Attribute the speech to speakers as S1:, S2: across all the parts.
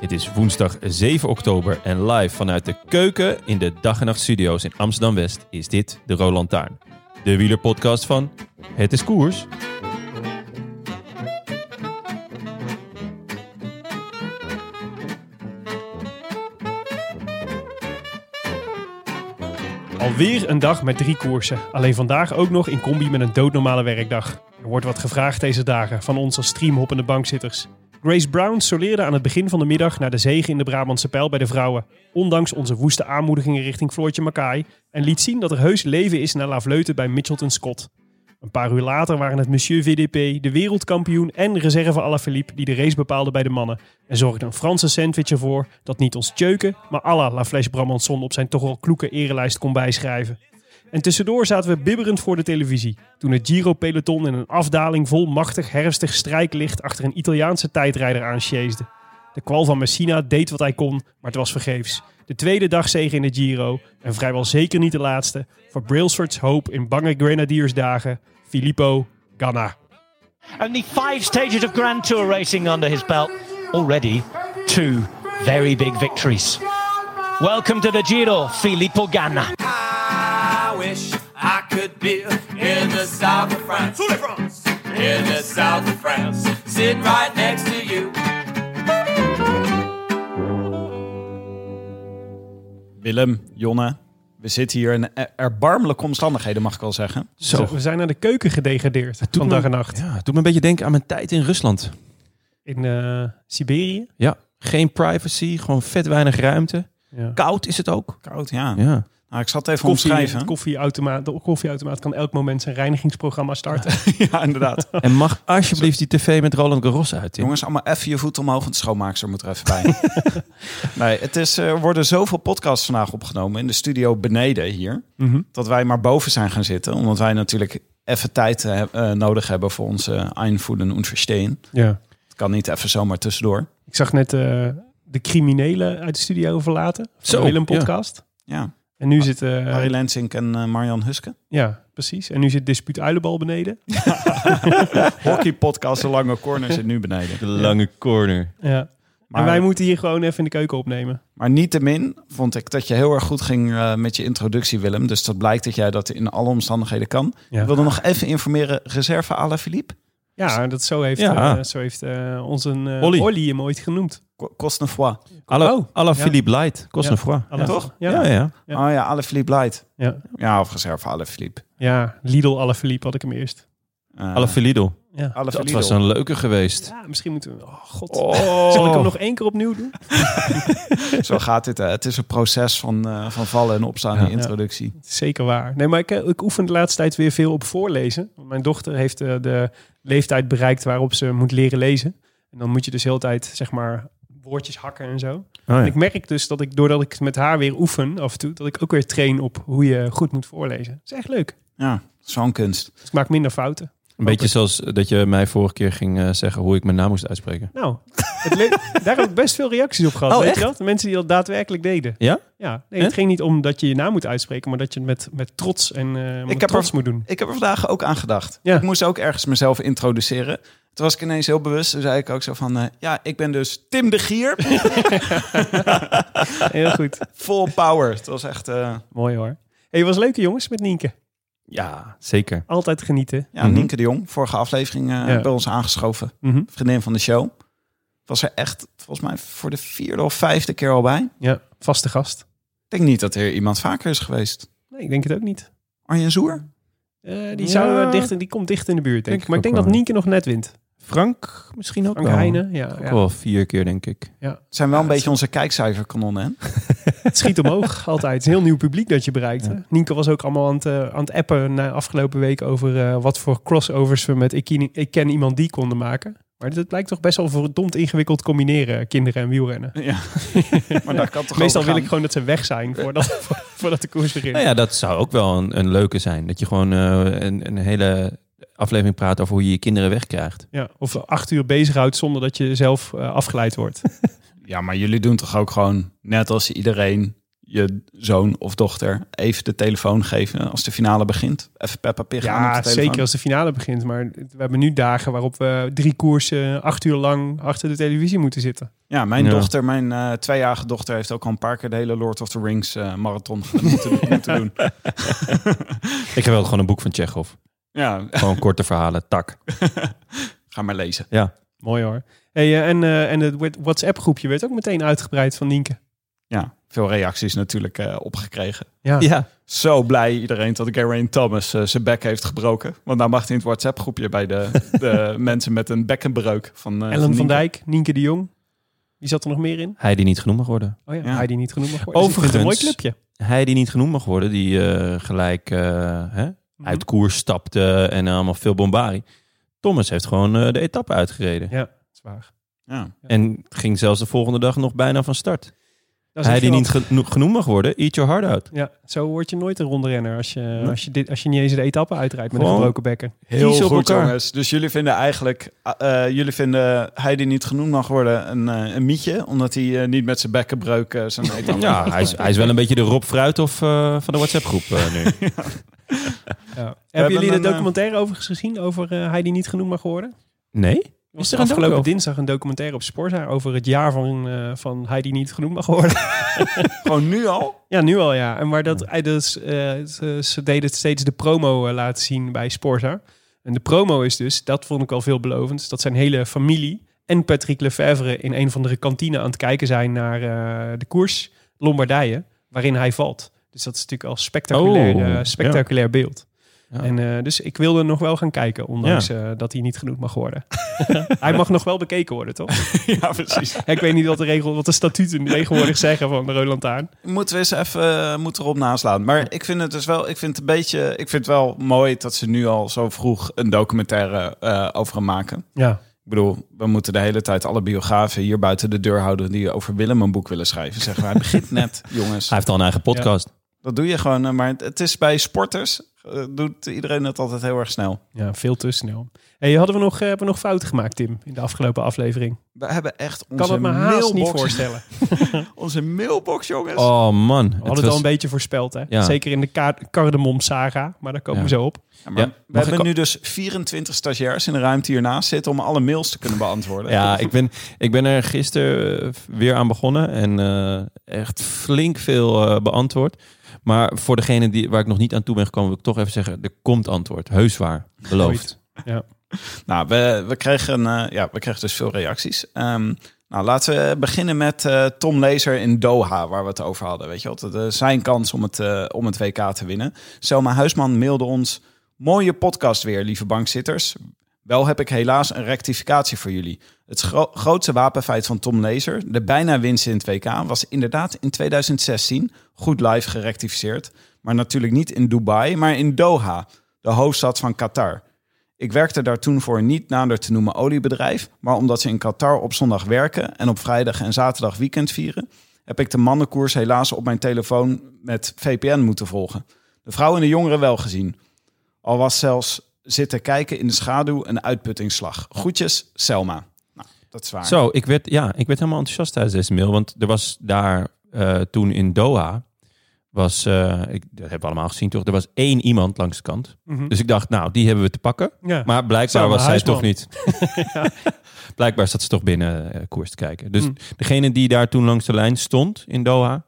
S1: Het is woensdag 7 oktober en live vanuit de keuken in de Dag en Nacht Studio's in Amsterdam-West is dit de Roland Taarn. De wielerpodcast van Het is Koers.
S2: Alweer een dag met drie koersen. Alleen vandaag ook nog in combi met een doodnormale werkdag. Er wordt wat gevraagd deze dagen van ons als streamhoppende bankzitters. Grace Brown soleerde aan het begin van de middag naar de zege in de Brabantse pijl bij de vrouwen. Ondanks onze woeste aanmoedigingen richting Floortje Mackay. En liet zien dat er heus leven is na Lafleuten bij Mitchelton Scott. Een paar uur later waren het Monsieur VDP, de wereldkampioen en reserve Alaphilippe die de race bepaalde bij de mannen. En zorgde een Franse sandwich ervoor dat niet ons tjeuken, maar alla La Flèche Bramanson op zijn toch al kloeke erelijst kon bijschrijven. En tussendoor zaten we bibberend voor de televisie, toen het Giro-peloton in een afdaling vol machtig herfstig strijklicht achter een Italiaanse tijdrijder aansjeesde. De kwal van Messina deed wat hij kon, maar het was vergeefs. De tweede dagzege in de Giro, en vrijwel zeker niet de laatste, voor Brailsford's hoop in bange Grenadiersdagen, Filippo Ganna.
S3: Only five stages of Grand Tour racing under his belt. Already two very big victories. Welcome to the Giro, Filippo Ganna.
S4: I wish I could be in the south of France. In the south of France. Sitting right next to you.
S5: Willem, Jonne, we zitten hier in er- erbarmelijke omstandigheden, mag ik wel zeggen.
S1: Zo.
S2: We zijn naar de keuken gedegradeerd,
S1: doet
S2: van dag
S1: me-
S2: en nacht.
S1: Ja, het doet me een beetje denken aan mijn tijd in Rusland.
S2: In eh, Siberië.
S1: Ja, geen privacy, gewoon vet weinig ruimte.
S2: Ja.
S1: Koud is het ook.
S5: Koud, ja.
S1: Ja.
S5: Nou, ik zat even
S2: Koffie,
S5: omschrijven.
S2: het koffieautomaat, de koffieautomaat kan elk moment zijn reinigingsprogramma starten.
S5: ja, inderdaad.
S1: En mag alsjeblieft die tv met Roland Garros uit. Tim.
S5: Jongens, allemaal even je voet omhoog, want de schoonmaakster moet er even bij. nee, het is, eh, er worden zoveel podcasts vandaag opgenomen in de studio beneden hier, dat wij maar boven zijn gaan zitten. Omdat wij natuurlijk even tijd eh, eh, nodig hebben voor onze einvoeden en verstehen.
S2: Ja.
S5: Het kan niet even zomaar tussendoor.
S2: Ik zag net eh, de criminelen uit de studio verlaten. Van
S1: Zo,
S2: de Willem podcast.
S5: Ja,
S2: En nu zit... eh,
S5: Harry Lensink en eh, Marian Huske.
S2: ja, precies. En nu zit Dispuut Uilenbal beneden.
S5: Hockey podcast, de lange corner zit nu beneden.
S1: De lange corner.
S2: Ja.
S5: Maar-
S2: En wij moeten hier gewoon even in de keuken opnemen.
S5: Maar niettemin vond ik dat je heel erg goed ging eh, met je introductie, Willem. Dus dat blijkt dat jij dat in alle omstandigheden kan.
S2: Ja.
S5: Ik wilde nog even informeren, reserve à la Philippe.
S2: Ja, dat zo heeft,
S1: Ja.
S2: eh, zo heeft eh, onze eh,
S1: Olly.
S2: Olly hem ooit genoemd.
S5: Co- Kost een fois.
S1: Hallo,
S2: Oh,
S1: Alla
S2: ja.
S1: Philippe Light, kost
S2: Ja.
S1: een fois.
S2: Alles-
S5: toch?
S2: Ja,
S1: ja.
S2: ja.
S1: ja.
S2: Ja.
S5: Oh ja, à la Philippe Light.
S2: ja.
S5: Ja, of reserve à la Philippe.
S2: Lidl alle had ik hem eerst.
S5: Eh,
S1: Alla Philippe.
S2: Ja.
S5: à la
S1: Dat
S5: Philippe.
S1: was een leuke geweest.
S2: Ja, misschien moeten we... Oh, god.
S5: Oh.
S2: Zal ik hem nog één keer opnieuw doen?
S5: Zo gaat dit. hè. Het is een proces van, eh, van vallen en opstaan
S1: Ja.
S5: in introductie.
S2: Zeker waar. Nee, maar ik, eh, ik oefen de laatste tijd weer veel op voorlezen. Want Mijn dochter heeft eh, de leeftijd bereikt waarop ze moet leren lezen. En dan moet je dus heel de tijd, zeg maar, woordjes hakken en zo.
S1: Oh,
S2: En
S1: ja.
S2: ik merk dus dat ik, doordat ik het met haar weer oefen af en toe, dat ik ook weer train op hoe je goed moet voorlezen. Dat is echt leuk.
S5: Ja, zo'n kunst.
S2: Dus ik maak minder fouten.
S1: Een beetje zoals dat je mij vorige keer ging eh, zeggen hoe ik mijn naam moest uitspreken.
S2: Nou, het le- daar heb ik best veel reacties op gehad.
S1: Oh,
S2: weet je
S1: echt?
S2: dat? Mensen die dat daadwerkelijk deden.
S1: Ja?
S2: Ja. Nee,
S1: Hè?
S2: het ging niet om dat je je naam moet uitspreken, maar dat je het met, met trots en eh met
S5: Ik heb
S2: trots
S5: er-
S2: moet doen.
S5: Ik heb er vandaag ook aan gedacht.
S2: Ja.
S5: Ik moest ook ergens mezelf introduceren. Toen was ik ineens heel bewust. Toen zei ik ook zo van... eh, ja, ik ben dus Tim de Gier.
S2: Heel goed.
S5: Full power. Het was echt... eh,
S2: Mooi hoor. Hey, was leuke jongens met Nienke.
S1: Ja, zeker.
S2: Altijd genieten.
S5: Ja,
S1: Mhm.
S5: Nienke de Jong, vorige aflevering eh,
S2: Ja.
S5: bij ons aangeschoven.
S2: Mhm.
S5: Vriendin van de show. Was er echt, volgens mij, voor de vierde of vijfde keer al bij.
S2: Ja, vaste gast.
S5: Ik denk niet dat er iemand vaker is geweest.
S2: Nee, ik denk het ook niet.
S5: Arjen Zoer?
S2: Eh, die,
S1: Ja.
S2: zou, dicht, in- die komt dicht in de buurt, denk
S1: Denk
S2: ik.
S1: ik
S2: Maar ik
S1: ook
S2: denk dat
S1: wel.
S2: Nienke nog net wint.
S1: Frank misschien ook
S2: Frank Oh.
S1: wel.
S2: Heijnen, ja.
S1: Ook
S2: ja.
S1: wel vier keer, denk ik.
S5: Het zijn wel een beetje onze kijkcijferkanonnen, hè?
S2: Het schiet omhoog altijd. Het is een heel nieuw publiek dat je bereikt. hè? Nienke was ook allemaal aan het, eh, aan het appen na afgelopen week over eh, wat voor crossovers we met ik, Ken- ik ken iemand die konden maken. Maar dit blijkt toch best wel verdomd ingewikkeld combineren, kinderen en wielrennen.
S5: Ja. maar daar kan toch
S2: Meestal
S5: over
S2: wil ik
S5: gaan.
S2: gewoon dat ze weg zijn voordat, voordat de koers begint.
S1: Nou ja, dat zou ook wel een, een leuke zijn. Dat je gewoon eh, een, een hele aflevering praat over hoe je je kinderen wegkrijgt.
S2: Ja, of acht uur bezighoudt zonder dat je zelf eh, afgeleid wordt.
S5: Ja, maar jullie doen toch ook gewoon, net als iedereen, je zoon of dochter even de telefoon geven als de finale begint. Even Peppa Pig aan
S2: Ja,
S5: op de telefoon.
S2: zeker als de finale begint. Maar we hebben nu dagen waarop we drie koersen acht uur lang achter de televisie moeten zitten.
S5: Ja, mijn
S1: Ja.
S5: dochter, mijn eh, tweejarige dochter, heeft ook al een paar keer de hele Lord of the Rings eh, marathon moeten, moeten doen.
S1: Ik heb wel gewoon een boek van Chekhov.
S5: Ja,
S1: Gewoon korte verhalen, tak.
S5: ga maar lezen.
S2: Mooi hoor. Hey, eh, en, eh, en het WhatsApp-groepje werd ook meteen uitgebreid van Nienke.
S5: Ja, veel reacties natuurlijk eh, opgekregen.
S2: Ja.
S1: Ja,
S5: Zo blij iedereen dat Geraint Thomas eh, zijn bek heeft gebroken. Want nou mag hij in het WhatsApp-groepje bij de, de mensen met een bekkenbreuk. Van, eh,
S2: Ellen van
S5: Nienke.
S2: Dijk, Nienke de Jong. Wie zat er nog meer in?
S1: hij die niet genoemd mag worden.
S2: Oh ja,
S5: Ja.
S2: Heidi niet genoemd. mag worden.
S1: Overigens-
S2: Een mooi clubje.
S1: Hij die niet genoemd mag worden, die eh, gelijk eh, hè, uit koers stapte en allemaal veel bombarie. Thomas heeft gewoon eh, de etappe uitgereden.
S2: Ja, zwaar.
S5: Ja.
S1: En ging zelfs de volgende dag nog bijna van start.
S2: Dat is
S1: Hij die
S2: echt
S1: niet geno- genoemd mag worden, eat your heart out.
S2: Ja, zo word je nooit een rondrenner als je, als je, dit, als je niet eens de etappe uitrijdt met een
S1: Gewoon
S2: gebroken bekken.
S5: Heel
S1: Kies op
S5: goed,
S1: elkaar.
S5: jongens. Dus jullie vinden eigenlijk, eh, eh, jullie vinden hij die niet genoemd mag worden een, eh, een mietje, omdat hij eh, niet met zijn bekkenbreuk eh, zijn eten.
S1: Ja, hij is, hij is wel een beetje de Rob Fruithof eh, van de WhatsApp-groep eh, nu.
S2: Hebben jullie de
S5: een, eh,
S2: documentaire overigens gezien over eh, Heidi niet genoemd mag worden?
S1: Nee?
S2: Er was
S1: er een
S2: afgelopen
S1: docu over?
S2: dinsdag een documentaire op Sporza over het jaar van, eh, van Heidi niet genoemd mag worden.
S5: Gewoon nu al?
S2: ja, nu al ja. En maar dat, hij dus, eh, ze, ze deden steeds de promo eh, laten zien bij Sporza. En de promo is dus, dat vond ik al veelbelovend, dat zijn hele familie en Patrick Lefevre in een van de kantine aan het kijken zijn naar eh, de koers Lombardije, waarin hij valt. Dus dat is natuurlijk al spectaculair,
S1: Oh,
S2: eh,
S1: ja.
S2: spectaculair beeld.
S1: Ja.
S2: En, eh, dus ik wilde nog wel gaan kijken, ondanks eh, dat hij niet genoemd mag worden. hij mag nog wel bekeken worden, toch?
S5: ja, precies.
S2: Ja, ik weet niet wat de, regel, wat de statuten tegenwoordig zeggen van de Roland Taan.
S5: Moeten we eens even eh, moeten erop naslaan. Maar ik vind het dus wel, ik vind het een beetje, ik vind het wel mooi dat ze nu al zo vroeg een documentaire eh, over hem maken.
S2: Ja.
S5: Ik bedoel, we moeten de hele tijd alle biografen hier buiten de deur houden die over Willem een boek willen schrijven. Zeggen wij, begint net, jongens.
S1: Hij heeft al een eigen podcast.
S5: Dat doe je gewoon, eh, maar het- het is bij sporters, eh, doet iedereen het altijd heel erg snel.
S2: ja, veel te snel. Hey, hadden we nog, eh, hebben we nog fouten gemaakt, Tim, in de afgelopen aflevering?
S5: We hebben echt onze
S2: Kan het me haast niet
S5: mailbox,
S2: voorstellen.
S5: onze mailbox jongens.
S1: Oh man.
S2: We hadden het al een beetje voorspeld, hè?
S1: Ja.
S2: Zeker in de kaart Cardamom Saga, maar daar komen
S1: Ja.
S2: we zo op.
S5: Ja, maar
S1: ja,
S5: we
S1: mag ik
S5: hebben
S1: al-
S5: nu dus 24 stagiairs in de ruimte hiernaast zitten om alle mails te kunnen beantwoorden.
S1: Ja, ik ben, ik ben er gisteren eh, weer aan begonnen en eh, echt flink veel eh, beantwoord. Maar voor degene die, waar ik nog niet aan toe ben gekomen, wil ik toch even zeggen, er komt antwoord. Heus waar. Beloofd.
S5: Nou, we, we, kregen, eh, ja, we kregen dus veel reacties. Ehm, nou, laten we beginnen met eh, Tom Lezer in Doha, waar we het over hadden. Weet je wel, Dat, eh, zijn kans om het, eh, om het WK te winnen. Selma Huisman mailde ons: Mooie podcast weer, lieve bankzitters. Wel heb ik helaas een rectificatie voor jullie. Het gro- grootste wapenfeit van Tom Lezer, de bijna winst in het WK, was inderdaad in 2016 goed live gerectificeerd. Maar natuurlijk niet in Dubai, maar in Doha, de hoofdstad van Qatar. Ik werkte daar toen voor een niet nader te noemen oliebedrijf, maar omdat ze in Qatar op zondag werken en op vrijdag en zaterdag weekend vieren, heb ik de mannenkoers helaas op mijn telefoon met VPN moeten volgen. De vrouwen en de jongeren wel gezien. Al was zelfs zitten kijken in de schaduw een uitputtingsslag. Groetjes, Selma. Nou, dat is waar.
S1: Zo, ik werd, ja, ik werd helemaal enthousiast tijdens deze mail, want er was daar eh, toen in Doha, was, eh, ik, dat hebben we allemaal gezien toch, er was één iemand langs de kant.
S2: Mhm.
S1: Dus ik dacht, nou, die hebben we te pakken.
S2: Ja.
S1: Maar blijkbaar
S2: Selma
S1: was zij
S2: Huisman.
S1: toch niet. blijkbaar zat ze toch binnen eh, koers te kijken.
S2: Mhm.
S1: Dus degene die daar toen langs de lijn stond in Doha,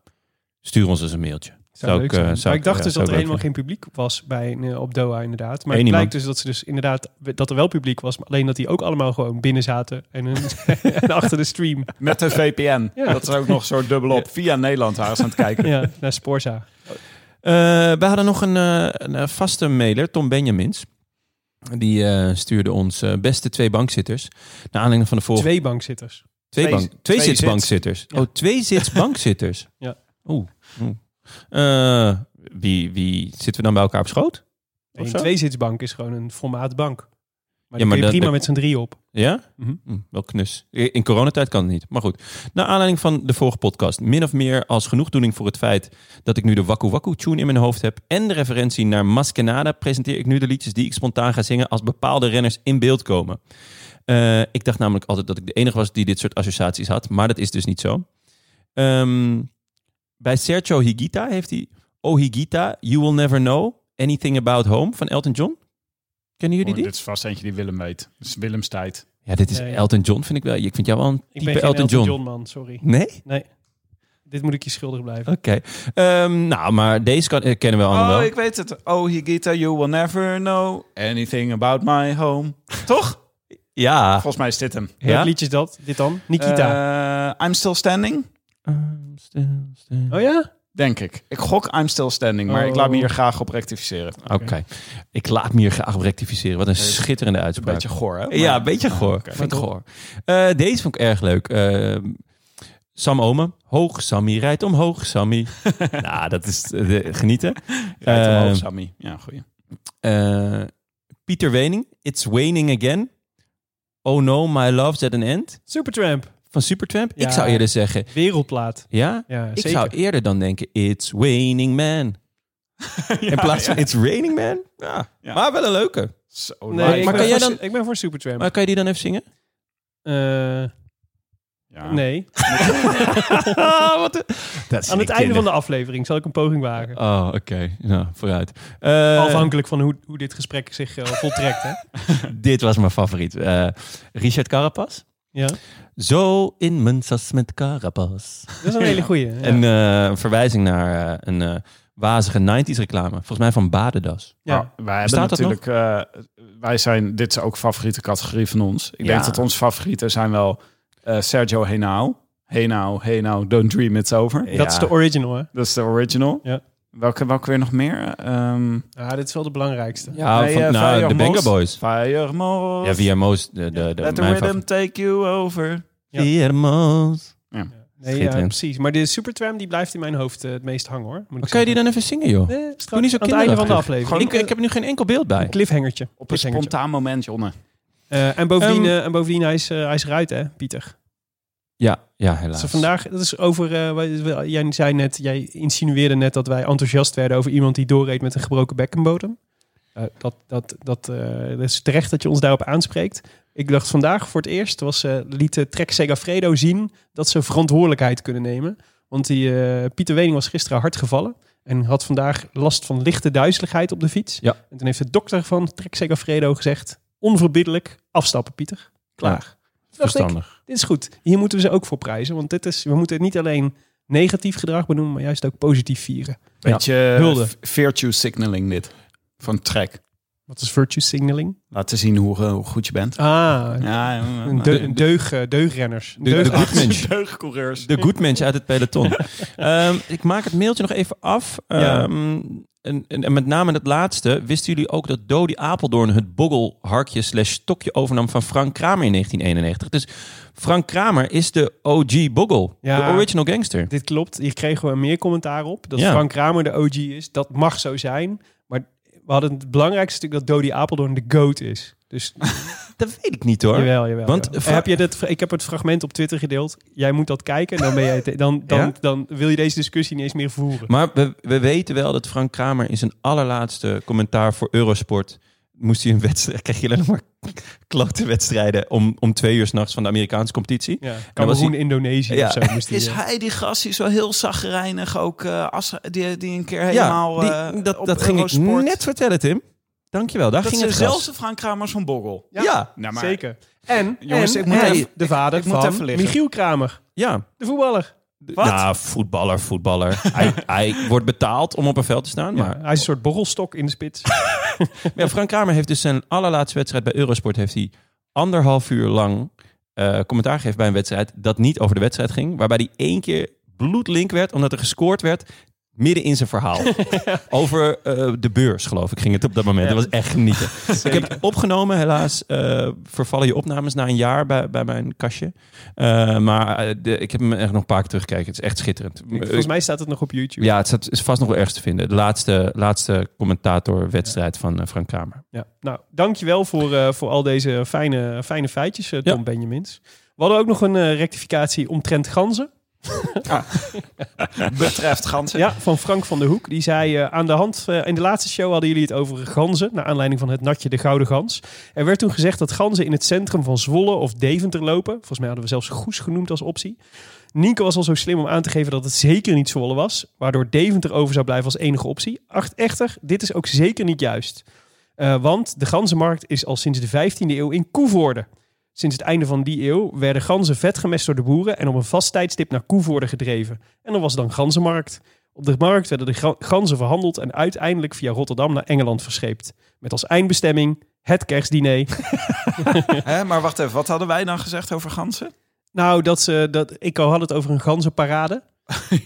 S1: stuur ons eens een mailtje.
S2: Zou leuk
S1: ik, eh,
S2: zijn.
S1: zou
S2: maar ik dacht
S1: ja,
S2: dus
S1: zou
S2: dat er
S1: ik
S2: helemaal
S1: leuk
S2: geen publiek was bij, eh, op Doha inderdaad. Maar
S1: Eén
S2: het blijkt
S1: iemand.
S2: dus dat, ze dus inderdaad, dat er wel publiek was, maar alleen dat die ook allemaal gewoon binnen zaten en, een- en achter de stream
S5: Met de VPN.
S2: Ja.
S5: Dat is ook nog zo dubbelop. Via Nederland waren ze aan het kijken.
S2: ja, naar Sporza.
S1: Eh, we hadden nog een, eh, een eh, vaste mailer, Tom Benjamins. Die eh, stuurde ons eh, beste twee bankzitters. Naar aanleiding van de vorige...
S2: Twee bankzitters.
S1: Twee,
S5: Twee-
S1: bank, twee,
S5: twee
S1: zits
S5: zits.
S1: bankzitters.
S2: Ja.
S1: Oh, twee zits bankzitters.
S2: Ja.
S1: Oeh. oeh. Eh, wie, wie zitten we dan bij elkaar op schoot?
S2: Een
S1: zo?
S2: tweezitsbank is gewoon een formaat bank. Maar
S1: maar
S2: die kun je
S1: dat-
S2: prima
S1: dat-
S2: met z'n drie op.
S1: Ja?
S2: Mhm.
S1: Hm, wel knus. In coronatijd kan het niet. Maar goed. Naar aanleiding van de vorige podcast. Min of meer als genoegdoening voor het feit dat ik nu de Waku Waku tune in mijn hoofd heb. En de referentie naar Maskenada presenteer ik nu de liedjes die ik spontaan ga zingen als bepaalde renners in beeld komen. Eh, ik dacht namelijk altijd dat ik de enige was die dit soort associaties had. Maar dat is dus niet zo. Ehm, bij Sergio Higuita heeft hij... Oh Higuita, You Will Never Know Anything About Home van Elton John. Kennen jullie
S5: Oh,
S1: die?
S5: dit is vast eentje die Willem weet. Dat is Willems tijd.
S1: Ja, dit is
S2: Nee.
S1: Elton John, vind ik wel. Ik vind jou wel een
S2: Ik
S1: type
S2: ben geen
S1: Elton, John.
S2: man, sorry.
S1: Nee?
S2: Dit moet ik je schuldig blijven.
S1: Oké. Ehm, nou, maar deze kan, eh, kennen we allemaal
S5: Oh,
S1: wel.
S5: ik weet het. Oh, Higita, you will never know anything about my home. Toch?
S1: Ja.
S5: Volgens mij is dit hem.
S2: Welk
S1: ja.
S2: liedje is dat? Dit dan? Nikita.
S5: Eh, I'm still standing,
S1: I'm still standing.
S2: oh ja?
S5: denk ik. Ik gok I'm still standing, maar ik
S2: Oh.
S5: laat me hier graag op rectificeren.
S1: Oké. Ik laat me hier graag op rectificeren. Wat een schitterende
S5: Een
S1: uitspraak.
S5: beetje goor, hè? Maar-
S1: ja, een beetje goor.
S5: oké.
S1: Vind ik goor. Eh, deze vond ik erg leuk. Ehm, Sam Omen. Hoog, Sammy. Rijdt omhoog, Sammy. nou, dat is eh, de- genieten.
S5: Rijdt omhoog,
S1: Eh,
S5: Sammy. Ja, goeie.
S1: Eh, Pieter Wening. It's waning again. Oh no, my love's at an end.
S2: Supertramp.
S1: Van Supertramp.
S2: Ja.
S1: Ik zou eerder zeggen...
S2: Wereldplaat.
S1: Ja?
S2: Ja,
S1: Ik
S2: zeker.
S1: zou eerder dan denken, it's raining man. In plaats van, it's raining man. Ja.
S5: Ja.
S1: Maar wel een leuke.
S5: Zo
S2: Nee,
S5: live.
S2: ik,
S1: Maar
S2: ben
S1: kan jij
S2: voor,
S1: dan-
S2: ik ben voor Supertramp.
S1: Maar kan je die dan even zingen?
S2: Eh,
S5: Ja.
S2: Nee.
S1: Ah, Dat is
S2: Aan het einde van de aflevering zal ik een poging wagen.
S1: Oh, oké. Nou, vooruit. Eh,
S2: Afhankelijk van hoe, hoe dit gesprek zich eh, voltrekt. Hè?
S1: dit was mijn favoriet. Eh, Richard Carapas.
S2: Ja.
S1: Zo in mijn sas met Carapas.
S2: Dat is een hele goeie. Ja.
S1: En eh, een verwijzing naar eh, een eh, wazige 90s reclame. Volgens mij van Badendas.
S2: ja.
S5: Maar Oh, wij hebben
S1: Bestaat dat
S5: natuurlijk, eh, wij zijn, dit is ook favoriete categorie van ons. Ik
S1: Ja.
S5: denk dat onze favorieten zijn wel eh, Sergio Henao. Henao, Henao, Don't Dream It's Over.
S1: ah,
S2: Dat is de original, hè?
S5: Dat is de original.
S2: Ja.
S5: Welke, welke weer nog meer? Ehm
S2: Ah, dit is wel de belangrijkste.
S1: Ja,
S5: Nee,
S1: van,
S5: eh,
S1: nou,
S5: Fire
S1: de Benga
S5: Most.
S1: Boys.
S5: Fire Most.
S1: Ja, via Moos. De, de, de,
S5: Let the
S1: mijn
S5: rhythm
S1: favoriet.
S5: take you over.
S2: Ja.
S1: Via Moos.
S2: Nee, ja,
S1: Schitterend.
S2: precies. Maar de Supertram die blijft in mijn hoofd eh, het meest hangen, hoor. Moet
S1: Maar kan je die dan even zingen, joh?
S2: Nee,
S1: Doe niet zo
S2: aan het einde van de
S1: kinderachtig.
S2: aflevering. eh,
S5: Gewoon
S1: Ik, ik heb nu geen enkel beeld bij.
S2: Een cliffhangertje.
S5: Op een
S2: Cliffhangertje.
S5: spontaan moment, Jonne.
S2: Eh, en, bovendien,
S1: Ehm,
S2: eh, en bovendien, hij is, eh, hij is eruit, hè, Pieter?
S1: Ja, ja
S2: Dat
S1: helaas.
S2: is vandaag, dat is over, eh, wij- wij- jij zei net, jij insinueerde net dat wij enthousiast werden over iemand die doorreed met een gebroken bekkenbodem. Eh, dat, dat, dat, eh, dat is terecht dat je ons daarop aanspreekt. Ik dacht vandaag voor het eerst was, eh, liet eh, Trek Segafredo zien dat ze verantwoordelijkheid kunnen nemen. Want die, eh, Pieter Wening was gisteren hard gevallen en had vandaag last van lichte duizeligheid op de fiets.
S1: Ja.
S2: En toen heeft de dokter van Trek Segafredo gezegd, onverbiddelijk afstappen Pieter, klaar. Toen dacht ik,
S1: Verstandig.
S2: dit is goed. Hier moeten we ze ook voor prijzen. Want dit is, we moeten het niet alleen negatief gedrag benoemen, maar juist ook positief vieren.
S5: Beetje
S2: Hulde.
S5: v- virtue signaling dit. Van track.
S2: Wat is virtue signaling?
S5: Laten zien hoe, eh, hoe goed je bent.
S2: Ah,
S5: Ja,
S2: een deug, een deug, eh, deugrenners. Ah,
S1: De, de,
S2: Deugarts.
S1: good mensch.
S5: deugcoureurs.
S1: De good mensch uit het peloton. Ehm, ik maak het mailtje nog even af.
S2: Ja.
S1: Ehm, en, en, en met name het laatste. Wisten jullie ook dat Dodi Apeldoorn het boggelharkje slash stokje overnam van Frank Kramer in 1991? Dus Frank Kramer is de OG boggel.
S2: Ja.
S1: De original gangster.
S2: Dit klopt. Hier kregen we meer commentaar op. Dat
S1: Ja.
S2: Frank Kramer de OG is. Dat mag zo zijn. Maar we hadden het belangrijkste stuk dat Dodi Apeldoorn de GOAT is. Dus
S1: Dat weet ik niet hoor.
S2: jawel, jawel.
S1: Want
S2: jawel.
S1: Fra-
S2: heb je dit, ik heb het fragment op Twitter gedeeld. Jij moet dat kijken. Dan, ben jij het- dan, dan,
S1: Ja?
S2: dan wil je deze discussie niet eens meer voeren.
S1: Maar we, we weten wel dat Frank Kramer in zijn allerlaatste commentaar voor Eurosport. moest hij een wedstrijd. kreeg je alleen maar klote wedstrijden. om, om twee uur s'nachts van de Amerikaanse competitie.
S2: Ja,
S1: dan was
S2: Cameroen, Indonesië
S1: Ja.
S2: of zo moest
S5: Is
S2: die, eh,
S5: hij die gast die zo heel zagrijnig ook, eh, als, die, die een keer
S1: Ja,
S5: helemaal
S1: die-
S5: eh,
S1: dat,
S5: op
S1: dat ging
S5: Eurosport-
S1: ik net vertellen, Tim. Dankjewel, daar
S5: Dat
S1: ging
S5: is
S1: het gras.
S5: dezelfde Frank Kramer van Boggel.
S1: Ja,
S2: Ja,
S1: ja,
S5: Nou, maar-
S2: Zeker. En,
S5: Jongens,
S2: en
S5: ik moet
S2: hij-
S5: even-
S2: de vader
S5: ik moet
S2: van
S5: even liggen.
S2: Michiel Kramer, de voetballer.
S5: Wat?
S1: Nou, voetballer, voetballer. hij, hij wordt betaald om op een veld te staan.
S2: Ja,
S1: Maar
S2: hij is een soort borrelstok in de spits.
S1: ja, Frank Kramer heeft dus zijn allerlaatste wedstrijd bij Eurosport... heeft hij anderhalf uur lang eh, commentaar gegeven bij een wedstrijd... dat niet over de wedstrijd ging. Waarbij hij één keer bloedlink werd, omdat er gescoord werd... midden in zijn verhaal. Over eh, de beurs, geloof ik, ging het op dat moment. Dat was echt genieten. ik heb het opgenomen, helaas eh, vervallen je opnames na een jaar bij, bij mijn kastje. Eh, maar eh, de- ik heb hem echt nog een paar keer teruggekeken. Het is echt schitterend. Eh,
S2: Volgens mij staat het nog op YouTube.
S1: Ja, het staat- is vast nog wel ergens te vinden. De laatste, laatste commentatorwedstrijd van eh, Frank Kramer.
S2: Ja. Nou, dankjewel voor, eh, voor al deze fijne, fijne feitjes, eh, Tom
S1: Ja.
S2: Benjamins. We hadden ook nog een eh, rectificatie omtrent ganzen.
S5: Betreft ganzen.
S2: Ja, van Frank van der Hoek. Die zei eh, aan de hand, eh, in de laatste show hadden jullie het over ganzen, naar aanleiding van het natje de Gouden Gans. Er werd toen gezegd dat ganzen in het centrum van Zwolle of Deventer lopen. Volgens mij hadden we zelfs Goes genoemd als optie. Nienke was al zo slim om aan te geven dat het zeker niet Zwolle was, waardoor Deventer over zou blijven als enige optie. Acht echter, dit is ook zeker niet juist. Eh, want de ganzenmarkt is al sinds de 15e eeuw in Koevoorde. Sinds het einde van die eeuw werden ganzen vet gemest door de boeren en op een vast tijdstip naar Koevoorde gedreven. En er was dan ganzenmarkt. Op de markt werden de gra- ganzen verhandeld en uiteindelijk via Rotterdam naar Engeland verscheept. Met als eindbestemming het kerstdiner.
S5: Hè, maar wacht even, wat hadden wij dan gezegd over ganzen?
S2: nou, dat ze, dat, ik had het over een ganzenparade. Die,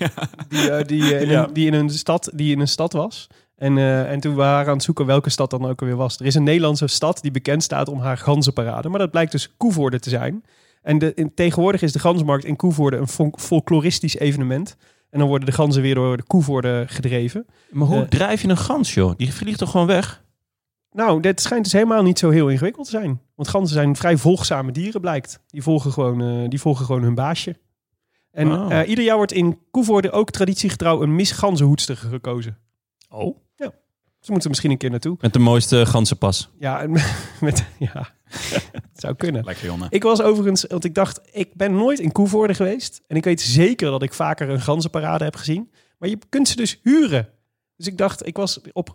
S2: eh, die, eh, in
S5: Ja.
S2: een, die, in een stad, die in een stad was. En, eh, en toen waren we aan het zoeken welke stad dan ook alweer was. Er is een Nederlandse stad die bekend staat om haar ganzenparade. Maar dat blijkt dus Koevoorde te zijn. En de, in- tegenwoordig is de ganzenmarkt in Koevoorde een fol- folkloristisch evenement. En dan worden de ganzen weer door de Koevoorde gedreven.
S1: Maar hoe
S2: Eh.
S1: drijf je een gans, joh? Die vliegt toch gewoon weg?
S2: Nou, dit schijnt dus helemaal niet zo heel ingewikkeld te zijn. Want ganzen zijn vrij volgzame dieren, blijkt. Die volgen gewoon, eh, die volgen gewoon hun baasje. En
S1: Oh.
S2: eh, ieder jaar wordt in Koevoorde ook traditiegetrouw een misganzenhoedster gekozen.
S1: Oh.
S2: Ja. Ze moeten misschien een keer naartoe.
S1: Met de mooiste ganzenpas.
S2: Ja, en met, ja. het zou kunnen.
S5: Lekker jongen.
S2: Ik was overigens, want ik dacht, ik ben nooit in Koevoorde geweest. En ik weet zeker dat ik vaker een ganzenparade heb gezien. Maar je kunt ze dus huren. Dus ik dacht, ik was op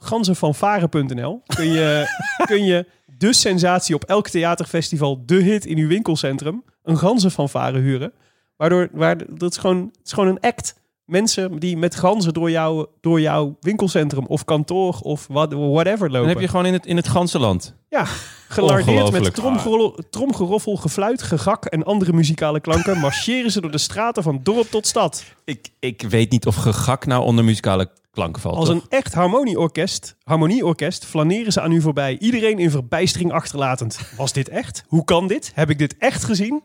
S2: ganzenvanvaren.nl. Kun je, kun je de sensatie op elk theaterfestival, de hit in uw winkelcentrum, een ganzenfanfare huren. Waardoor, waar, dat is gewoon, het is gewoon een act. Mensen die met ganzen door, jou, door jouw winkelcentrum of kantoor of wat- whatever lopen.
S1: Dan heb je gewoon in het, in het ganzenland.
S2: Ja, gelardeerd met
S1: Ongelooflijk.
S2: tromgeroffel, tromgeroffel, gefluit, gegak en andere muzikale klanken marcheren ze door de straten van dorp tot stad.
S1: Ik, ik weet niet of gegak nou onder muzikale klanken valt.
S2: Als
S1: toch?
S2: een echt harmonieorkest, harmonieorkest flaneren ze aan u voorbij, iedereen in verbijstering achterlatend. Was dit echt? Hoe kan dit? Heb ik dit echt gezien?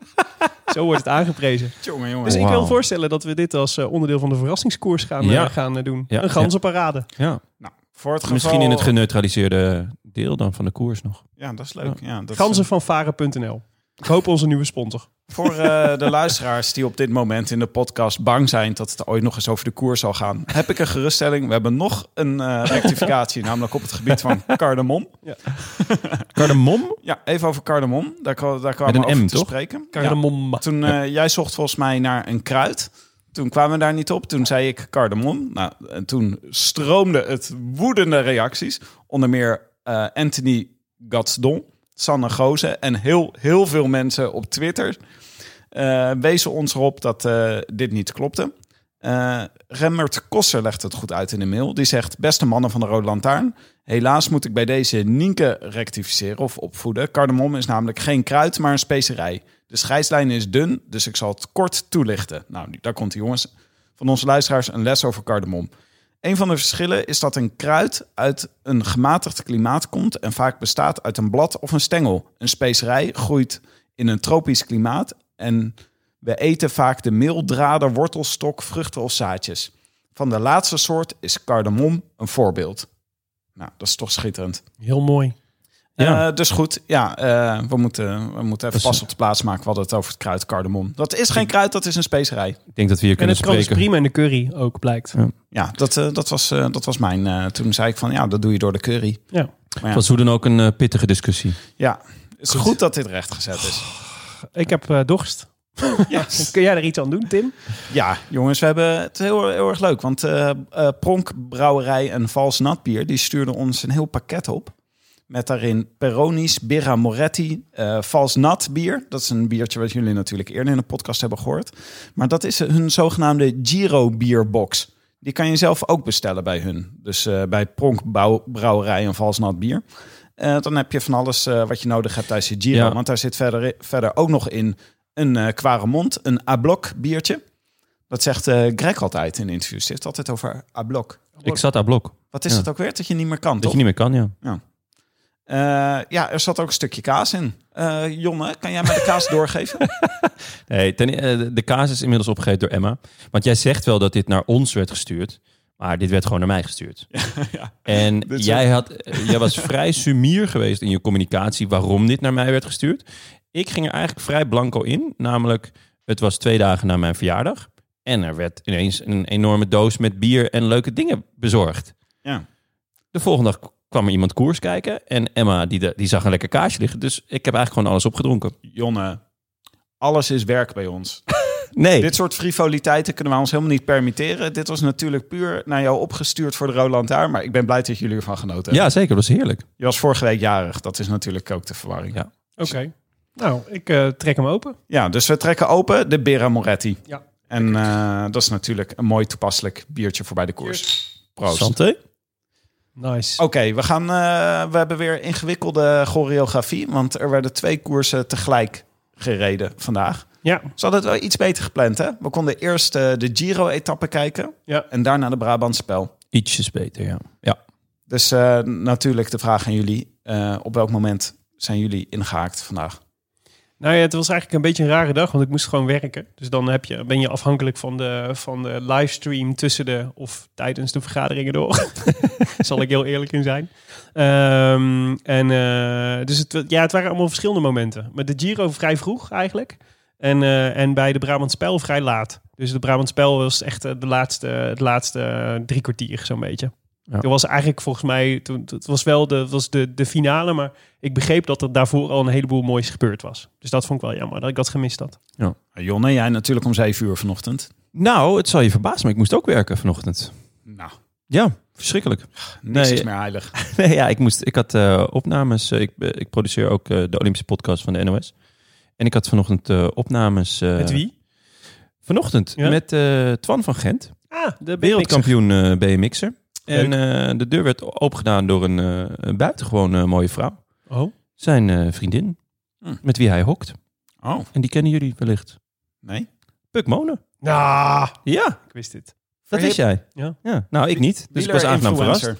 S2: Zo wordt het aangeprezen.
S5: Jongen, jongen.
S2: Dus ik
S1: Wauw.
S2: wil voorstellen dat we dit als eh, onderdeel van de verrassingskoers gaan, eh,
S1: Ja.
S2: gaan eh, doen.
S1: Ja,
S2: Een ganzenparade.
S1: ja.
S5: nou, voor het
S1: Misschien
S5: geval-
S1: in het geneutraliseerde deel dan van de koers nog.
S5: Ja, dat is leuk. Ja, dat is-
S2: Ganzenvanvaren.nl. Ik hoop onze nieuwe sponsor.
S5: Voor eh, de luisteraars die op dit moment in de podcast bang zijn dat het ooit nog eens over de koers zal gaan, heb ik een geruststelling. We hebben nog een eh, rectificatie, namelijk op het gebied van cardamom.
S1: Cardamom?
S5: Ja, even over cardamom. Daar, kwa- daar kwamen
S1: Met
S5: we
S1: een
S5: over
S1: M,
S5: te
S1: toch?
S5: spreken. Ja.
S2: Cardamom.
S5: Toen eh, jij zocht volgens mij naar een kruid. Toen kwamen we daar niet op. Toen zei ik cardamom. Nou, en toen stroomde het woedende reacties. Onder meer eh, Anthony Gadsdon, Sanne Gozen en heel, heel veel mensen op Twitter eh, wezen ons erop dat eh, dit niet klopte. Eh Remmert Kosser legt het goed uit in de mail. Die zegt, beste mannen van de Rode Lantaarn... helaas moet ik bij deze Nienke rectificeren of opvoeden. Cardamom is namelijk geen kruid, maar een specerij. De scheidslijn is dun, dus ik zal het kort toelichten. Nou, daar komt die jongens van onze luisteraars een les over cardamom. Een van de verschillen is dat een kruid uit een gematigd klimaat komt en vaak bestaat uit een blad of een stengel. Een specerij groeit in een tropisch klimaat en we eten vaak de meeldraden, wortelstok, vruchten of zaadjes. Van de laatste soort is cardamom een voorbeeld. Nou, dat is toch schitterend.
S2: Heel mooi.
S1: Ja.
S5: Eh, dus goed, ja, eh, we, moeten, we moeten even
S1: Dat is-
S5: pas op de plaats maken. We hadden het over het kruid cardamom. Dat is geen kruid, dat is een specerij.
S1: Ik denk dat we hier
S2: En
S1: kunnen
S2: het kan dus
S1: spreken.
S2: prima in de curry ook, blijkt.
S5: Ja, dat, eh, dat, was, eh, dat was mijn... eh, toen zei ik van, ja, dat doe je door de curry.
S2: Ja.
S5: ja.
S1: Het was hoe dan ook een eh, pittige discussie.
S5: Ja, het is goed, dat dit rechtgezet
S1: Oh.
S5: is.
S2: Ik heb eh, dorst.
S5: Yes.
S2: Kun jij er iets aan doen, Tim?
S5: Ja, jongens, we hebben het heel, heel erg leuk. Want eh eh, Pronkbrouwerij en Vals Natbier... die stuurden ons een heel pakket op. Met daarin Peronis, Birra Moretti, eh Vals Nat bier. Dat is een biertje wat jullie natuurlijk eerder in de podcast hebben gehoord. Maar dat is hun zogenaamde Giro bierbox. Die kan je zelf ook bestellen bij hun. Dus eh, bij Pronkbrouwerij en Vals Nat bier. Eh, dan heb je van alles eh, wat je nodig hebt tijdens je Giro.
S1: Ja.
S5: Want daar zit verder, verder ook nog in een eh Quaremont, een Ablok biertje. Dat zegt eh, Greg altijd in interviews. Hij heeft altijd over A-blok.
S1: Ik zat aan blok.
S5: Wat is
S1: Ja.
S5: het ook weer? Dat je niet meer kan,
S1: Dat
S5: toch?
S1: je niet meer kan, ja.
S5: Eh, ja, er zat ook een stukje kaas in. Eh, Jonne, kan jij mij de kaas doorgeven?
S1: Nee, ten- eh, de- de kaas is inmiddels opgegeten door Emma. Want jij zegt wel dat dit naar ons werd gestuurd. Maar dit werd gewoon naar mij gestuurd. En
S5: Dit is
S1: jij, had, eh, jij was vrij sumier geweest in je communicatie waarom dit naar mij werd gestuurd. Ik ging er eigenlijk vrij blanco in. Namelijk, het was twee dagen na mijn verjaardag. En er werd ineens een enorme doos met bier en leuke dingen bezorgd.
S5: Ja.
S1: De volgende dag kwam er iemand koers kijken. En Emma die, de- die zag een lekker kaasje liggen. Dus ik heb eigenlijk gewoon alles opgedronken.
S5: Jonne, alles is werk bij ons.
S1: Nee.
S5: Dit soort frivoliteiten kunnen we ons helemaal niet permitteren. Dit was natuurlijk puur naar jou opgestuurd voor de Roland daar. Maar ik ben blij dat jullie ervan genoten hebben.
S1: ja, zeker. Dat was heerlijk.
S5: Je was vorige week jarig. Dat is natuurlijk ook de verwarring.
S1: Ja.
S5: Ja,
S2: Oké. Nou, ik eh, trek hem open.
S5: dus we trekken open de Bera Moretti.
S2: Ja.
S5: En eh, dat is natuurlijk een mooi toepasselijk biertje voor bij de koers. Proost. Oké,
S1: Santé.
S2: Nice.
S5: we gaan. eh, we hebben weer ingewikkelde choreografie. Want er werden twee koersen tegelijk gereden vandaag.
S2: Ja,
S5: Ze hadden het wel iets beter gepland, hè? We konden eerst eh, de Giro-etappe kijken.
S2: Ja.
S5: En daarna de Brabantspel.
S1: Ietsjes beter, ja. ja.
S5: Dus eh, natuurlijk de vraag aan jullie. eh, op welk moment zijn jullie ingehaakt vandaag?
S2: Nou ja, het was eigenlijk een beetje een rare dag, want ik moest gewoon werken. Dus dan heb je, ben je afhankelijk van de, van de livestream tussen de of tijdens de vergaderingen door. Daar Zal ik heel eerlijk in zijn. Ehm, en eh, dus het, ja, het waren allemaal verschillende momenten. Met de Giro vrij vroeg eigenlijk. En, eh, en bij de Brabantspel vrij laat. Dus de Brabantspel was echt eh, de laatste, het laatste eh, drie kwartier zo'n beetje.
S1: Ja.
S2: Er was eigenlijk volgens mij, toen, het was wel de, het was de, de finale, maar ik begreep dat er daarvoor al een heleboel moois gebeurd was. Dus dat vond ik wel jammer, dat ik dat gemist had.
S5: Eh, Jonne, jij natuurlijk om 7 uur vanochtend.
S1: Nou, het zal je verbazen, maar ik moest ook werken vanochtend.
S5: Nou,
S1: Ja, verschrikkelijk.
S5: niks
S1: Nee.
S5: is meer heilig.
S1: Nee, ja, ik, moest, ik had eh, opnames. Eh, Ik, eh, ik produceer ook eh, de Olympische podcast van de NOS. En ik had vanochtend eh, opnames. eh,
S2: Met wie?
S1: Vanochtend
S2: Ja?
S1: met eh, Twan van Gent,
S2: Ah, de wereldkampioen.
S1: wereldkampioen eh BMX'er. En
S2: Leuk.
S1: eh, de deur werd opengedaan door een, eh, een buitengewoon eh, mooie vrouw.
S2: Oh,
S1: Zijn eh, vriendin,
S5: Hm.
S1: met wie hij hokt.
S5: Oh,
S1: En die kennen jullie wellicht.
S5: nee.
S1: Puk Monen.
S2: nou,
S1: Ja,
S2: ik wist dit.
S1: dat
S5: Verhip.
S1: is jij.
S2: Ja.
S1: ja. Nou, ik niet. Dus ik was aangenaam verrast.